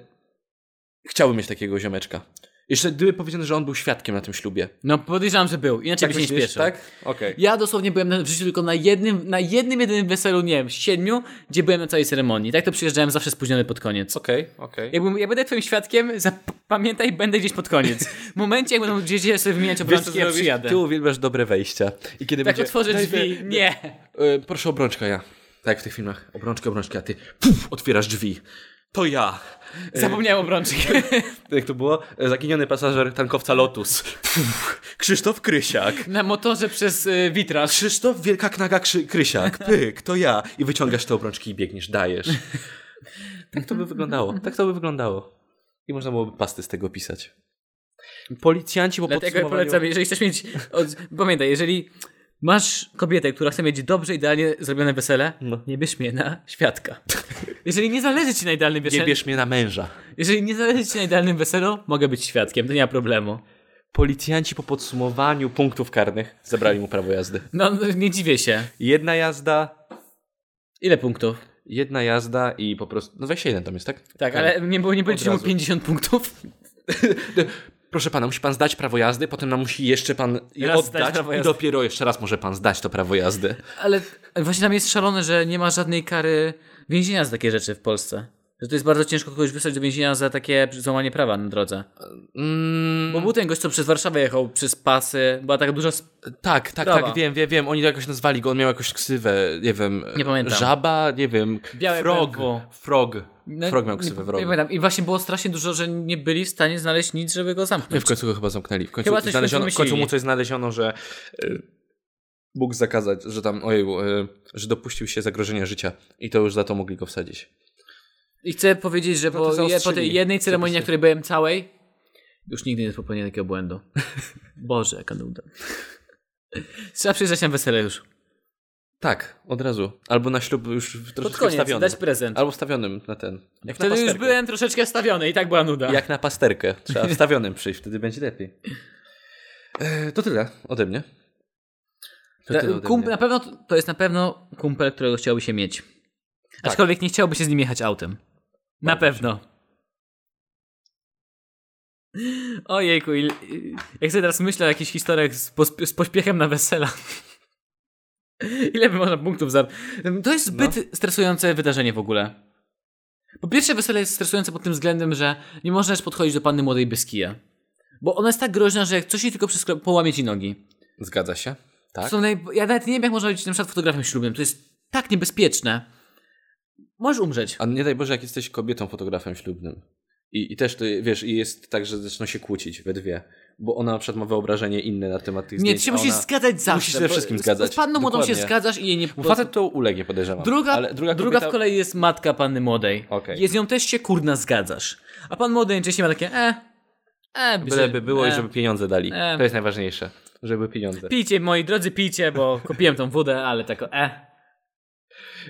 Chciałbym mieć takiego ziomeczka. Jeszcze gdyby powiedziano, że on był świadkiem na tym ślubie.
No podejrzewam, że był, inaczej by się nie
myślisz,
śpieszył.
tak? Okej.
Ja dosłownie byłem na, w życiu tylko na jednym, na jednym jedynym weselu, nie wiem, siedmiu, gdzie byłem na całej ceremonii. Tak to przyjeżdżałem zawsze spóźniony pod koniec.
Okej, okej.
Jakbym, ja będę twoim świadkiem, zap- pamiętaj, będę gdzieś pod koniec. W momencie, jak będą gdzieś gdzieś sobie wymieniać
Wiesz, co
obrączki, ja
zrobisz?
przyjadę.
Ty uwielbiasz dobre wejścia. I kiedy
Tak
będzie-
otworzę
Daj-
drzwi. Nie.
E, proszę obrączka ja. Tak jak w tych filmach. Obrączka, obrączka, a ty puf, otwierasz drzwi. To ja.
Zapomniałem obrączki.
<laughs> Jak to było? E, Zaginiony pasażer tankowca Lotus. Puf, Krzysztof Krysiak.
Na motorze przez y, witraż.
Krzysztof Wielka Knaga Krzy Krysiak. Pyk, to ja. I wyciągasz te obrączki i biegniesz, dajesz. Tak to by wyglądało. Tak to by wyglądało. I można byłoby pasty z tego pisać. Policjanci po
Dlatego
podsumowaniu...
polecam, jeżeli chcesz mieć... Od... Pamiętaj, jeżeli masz kobietę, która chce mieć dobrze, idealnie zrobione wesele,
No.
nie bierz mnie na świadka. Jeżeli nie zależy ci na idealnym
Nie
weselu,
bierz mnie na męża.
Jeżeli nie zależy ci na idealnym weselu, mogę być świadkiem, to nie ma problemu.
Policjanci po podsumowaniu punktów karnych zabrali mu prawo jazdy.
No, no, nie dziwię się.
Jedna jazda,
Ile punktów?
Jedna jazda i po prostu. No 21 tam jest, tak?
Tak, ale nie, było, nie będzie mu
razu.
50 punktów.
Proszę pana, musi pan zdać prawo jazdy, potem nam musi jeszcze pan je
Raz zdać
oddać
prawo
i
jazdy.
dopiero jeszcze raz może pan zdać to prawo jazdy.
Ale właśnie tam jest szalone, że nie ma żadnej kary więzienia za takie rzeczy w Polsce. Że to jest bardzo ciężko kogoś wysłać do więzienia za takie złamanie prawa na drodze.
Mm,
Bo był ten gość, co przez Warszawę jechał, przez pasy, była taka duża... Sp-
tak, tak,
Brawa.
tak, wiem, wiem, wiem. Oni to jakoś nazwali go, on miał jakąś ksywę, nie wiem.
Nie pamiętam.
Żaba, nie wiem.
Białe
frog.
BMW.
Frog.
No,
frog miał ksywę,
nie, nie
wrog.
pamiętam. I właśnie było strasznie dużo, że nie byli w stanie znaleźć nic, żeby go zamknąć.
Nie, w końcu go chyba zamknęli. W końcu,
Chyba coś w końcu
znaleziono, w końcu mu
wymyślili.
coś znaleziono, że y, mógł zakazać, że tam, ojej, y, że dopuścił się zagrożenia życia i to już za to mogli go wsadzić.
I chcę powiedzieć, że
No to
po, je, po tej
zaostrzyli.
jednej ceremonii, na
Zapisy.
której byłem całej, już nigdy nie popełnię <laughs> takiego błędu. Boże, jaka nuda. Trzeba przyjeżdżać na wesele już.
Tak, od razu. Albo na ślub już w-
Pod
troszeczkę
koniec
wstawionym.
dać prezent.
Albo wstawionym na ten. Jak na
Wtedy już
pasterkę.
byłem troszeczkę stawiony i tak była nuda.
Jak na pasterkę. Trzeba wstawionym przyjść, wtedy będzie lepiej. E, to tyle ode mnie. To
Ta-
tyle ode
kump-
mnie.
E,
Tak.
na pewno, to jest na pewno kumpel, którego chciałby się mieć. Aczkolwiek nie chciałby się z nim jechać autem. Na pewno. <laughs> Ojejku, il... jak sobie teraz myślę o jakichś historiach z, posp- z pośpiechem na wesela. <laughs> Ile by można punktów zar... To
No.
jest zbyt stresujące wydarzenie w ogóle. Po pierwsze wesele jest stresujące pod tym względem, że nie możesz podchodzić do panny młodej bez kija. Bo ona jest tak groźna, że jak coś jej tylko przeskro... połamie ci nogi.
Zgadza się.
To
Tak.
Są naj... Ja nawet nie wiem, jak można być na przykład fotografem ślubnym. To jest tak niebezpieczne. Możesz umrzeć.
A nie daj Boże, jak jesteś kobietą fotografem ślubnym. I, I też to, wiesz, i jest tak, że zaczną się kłócić we dwie. Bo ona na przykład ma wyobrażenie inne na temat
Nie,
tych zdjęć.
ty się
a
musisz
ona...
zgadzać zawsze.
Musisz ze
bo
wszystkim
z-
zgadzać.
Z panną młodą się
Dokładnie.
zgadzać i jej nie...
Bo Facet to ulegnie, podejrzewam.
Druga,
ale druga,
druga
kobieta...
w kolei jest matka panny młodej.
Okej.
I Z nią też się kurna zgadzasz. A pan młody najczęściej ma takie e, e,
Byle by było i
e.
żeby pieniądze dali.
E.
To jest najważniejsze. Żeby pieniądze.
Pijcie, moi drodzy, pijcie,
<laughs>
bo kupiłem tą wodę, ale tak o, e.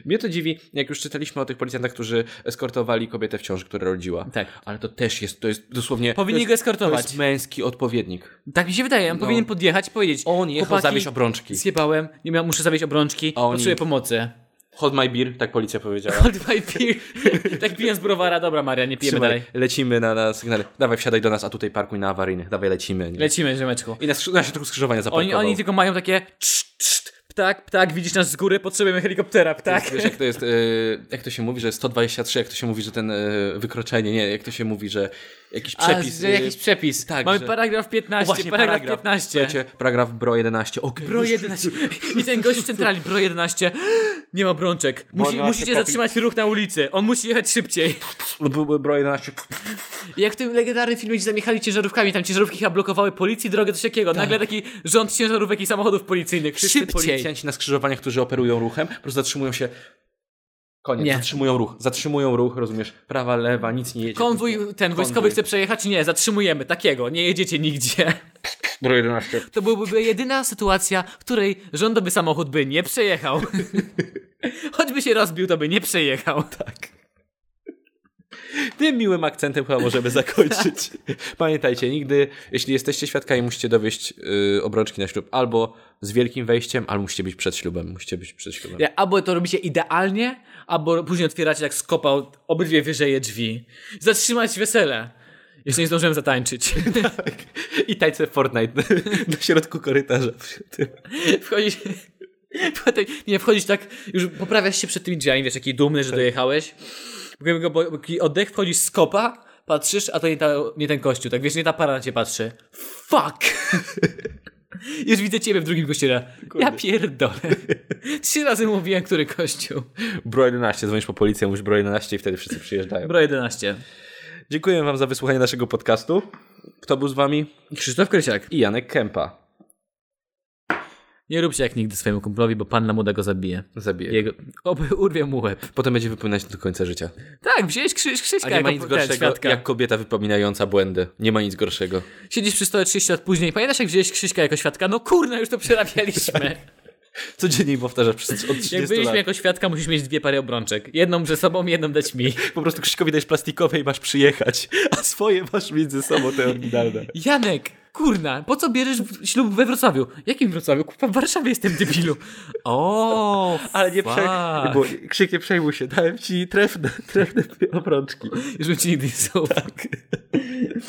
Mnie to dziwi, jak już czytaliśmy o tych policjantach, którzy eskortowali kobietę w ciąży, która rodziła.
Tak.
Ale to też jest, to jest dosłownie...
Powinni
to
go
jest, To
eskortować.
jest męski odpowiednik.
Tak mi się wydaje, on
No.
powinien podjechać i powiedzieć.
On jechał
chłopaki,
zawieźć obrączki.
Zjebałem, nie miał, muszę zawieźć obrączki,
A oni-
potrzebuję pomocy.
Hold my beer, tak policja
<laughs>
powiedziała.
Hold my beer. Tak pijąc browara, dobra Maria, nie pijemy
Trzymaj,
dalej.
Lecimy na, na sygnały. Dawaj, wsiadaj do nas, a tutaj parkuj na awaryjnych. Dawaj, lecimy. Nie?
Lecimy, Rzemeczku.
I na, skrzy- na środku skrzyżowania
Oni,
zaparkował.
oni tylko mają takie czt, czt, ptak, ptak, widzisz nas z góry, potrzebujemy helikoptera, ptak.
Wiesz, jak to jest, y, jak to się mówi, że 123, jak to się mówi, że ten y, wykroczenie, nie, jak to się mówi, że jakiś przepis.
A, że
y,
jakiś przepis. <laughs>
tak,
Mamy
że-
paragraf 15,
O, właśnie,
paragraf,
paragraf.
15.
Słuchajcie, paragraf bro 11. O,
Bro 11. I ten gość w centrali, bro 11. Nie ma brączek. Musi,
Bo ona
musicie
się kopi-
zatrzymać ruch na ulicy. On musi jechać szybciej.
Byłby bro 11.
I Jak w tym legendarnym filmie, gdzie zamiechali ciężarówkami, tam ciężarówki chyba blokowały policji drogę, coś takiego. Nagle taki rząd ciężarówek i samochodów policyjnych. Wszyscy
Wszyscy policjanci na skrzyżowaniach, którzy operują ruchem, po prostu zatrzymują się. Koniec,
Nie.
zatrzymują ruch. Zatrzymują ruch, rozumiesz? Prawa, lewa, nic nie jedzie.
Konwój ten wojskowy chce przejechać? Nie, zatrzymujemy takiego, nie jedziecie nigdzie.
Bro 11.
<laughs> To byłaby jedyna sytuacja, w której rządowy samochód by nie przejechał. <laughs> Choćby się rozbił, to by nie przejechał. Tak.
Tym miłym akcentem chyba możemy
<laughs>
zakończyć. Pamiętajcie, nigdy, jeśli jesteście świadkami, musicie dowieść yy, obrączki na ślub albo z wielkim wejściem, albo musicie być przed ślubem. Musicie być przed ślubem.
Albo to robicie idealnie, albo później otwieracie jak skopał obydwie wyżeje drzwi. Zatrzymać wesele. Jeszcze nie zdążyłem zatańczyć. <laughs>
Tak. I tańce Fortnite <laughs> na środku korytarza.
Wchodzisz... <laughs> Potem, nie, wchodzisz tak, już poprawiasz się przed tymi drzwiami, wiesz, jaki dumny,
Tak.
że dojechałeś. Potem go bo- taki oddech, wchodzisz z kopa, patrzysz, a to nie, ta, nie ten kościół, tak wiesz, nie ta para na cię patrzy. Fuck! <laughs> Już widzę ciebie w drugim kościele. Ja pierdolę.
<laughs>
Trzy razy mówiłem, który kościół.
Bro 11, dzwonisz po policję, mówisz Bro 11 i wtedy wszyscy przyjeżdżają.
Bro 11.
Dziękuję wam za wysłuchanie naszego podcastu. Kto był z wami?
Krzysztof Krysiak.
I Janek Kępa.
Nie rób się jak nigdy swojemu kumplowi, bo panna młoda go zabije.
Zabiję.
Jego, oby urwie mu łeb.
Potem będzie wypominać do końca życia.
Tak, wziąłeś Krzyś, Krzyśka
A nie
jako
ma nic
ten,
gorszego
świadka.
jak kobieta wypominająca błędy. Nie ma nic gorszego.
Siedzisz przy stole 30 lat później. Pamiętasz, jak wziąłeś Krzyśka jako świadka? No kurna, już to
<laughs>
przerabialiśmy.
Codziennie powtarza przez od 30
Jak byliśmy
lat.
jako świadka, musisz mieć dwie pary obrączek. Jedną ze sobą, jedną dać mi.
Po prostu Krzyśkowi dajesz plastikowe i masz przyjechać, a swoje masz między sobą te oryginalne.
Janek, kurna, po co bierzesz w- ślub we Wrocławiu? Jakim Wrocławiu? Kurwa, w Warszawie jestem debilu. O,
<laughs> Ale nie prze...
fuck.
bo Krzyk nie przejmuj się, dałem ci trefne, trefne obrączki.
Już bym ci nigdy nie zaufał.
Tak.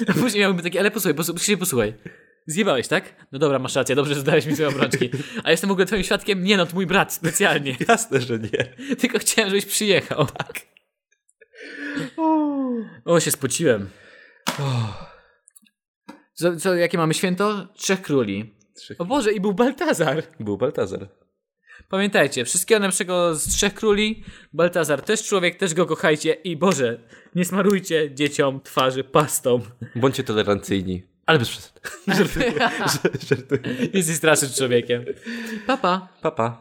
A później miałbym takie, ale posłuchaj, posłuchaj, Krzysiek, posłuchaj. Zjebałeś, tak? No dobra, masz rację, dobrze, że zdałeś mi te obrączki. A jestem w ogóle twoim świadkiem? Nie no, to mój brat, specjalnie.
Jasne, że nie.
<laughs> Tylko chciałem, żebyś przyjechał. Tak. O, się spociłem. Co, co, jakie mamy święto? Trzech króli.
Trzech-
O Boże, i był Baltazar.
Był Baltazar.
Pamiętajcie, wszystkiego najlepszego z Trzech Króli. Baltazar też człowiek, też go kochajcie. I Boże, nie smarujcie dzieciom twarzy pastą.
Bądźcie tolerancyjni. Ale bez
<laughs>
przesady. <laughs> Żartuję. Żartuję.
Jesteś strasznym człowiekiem. Papa. Pa.
Pa, pa.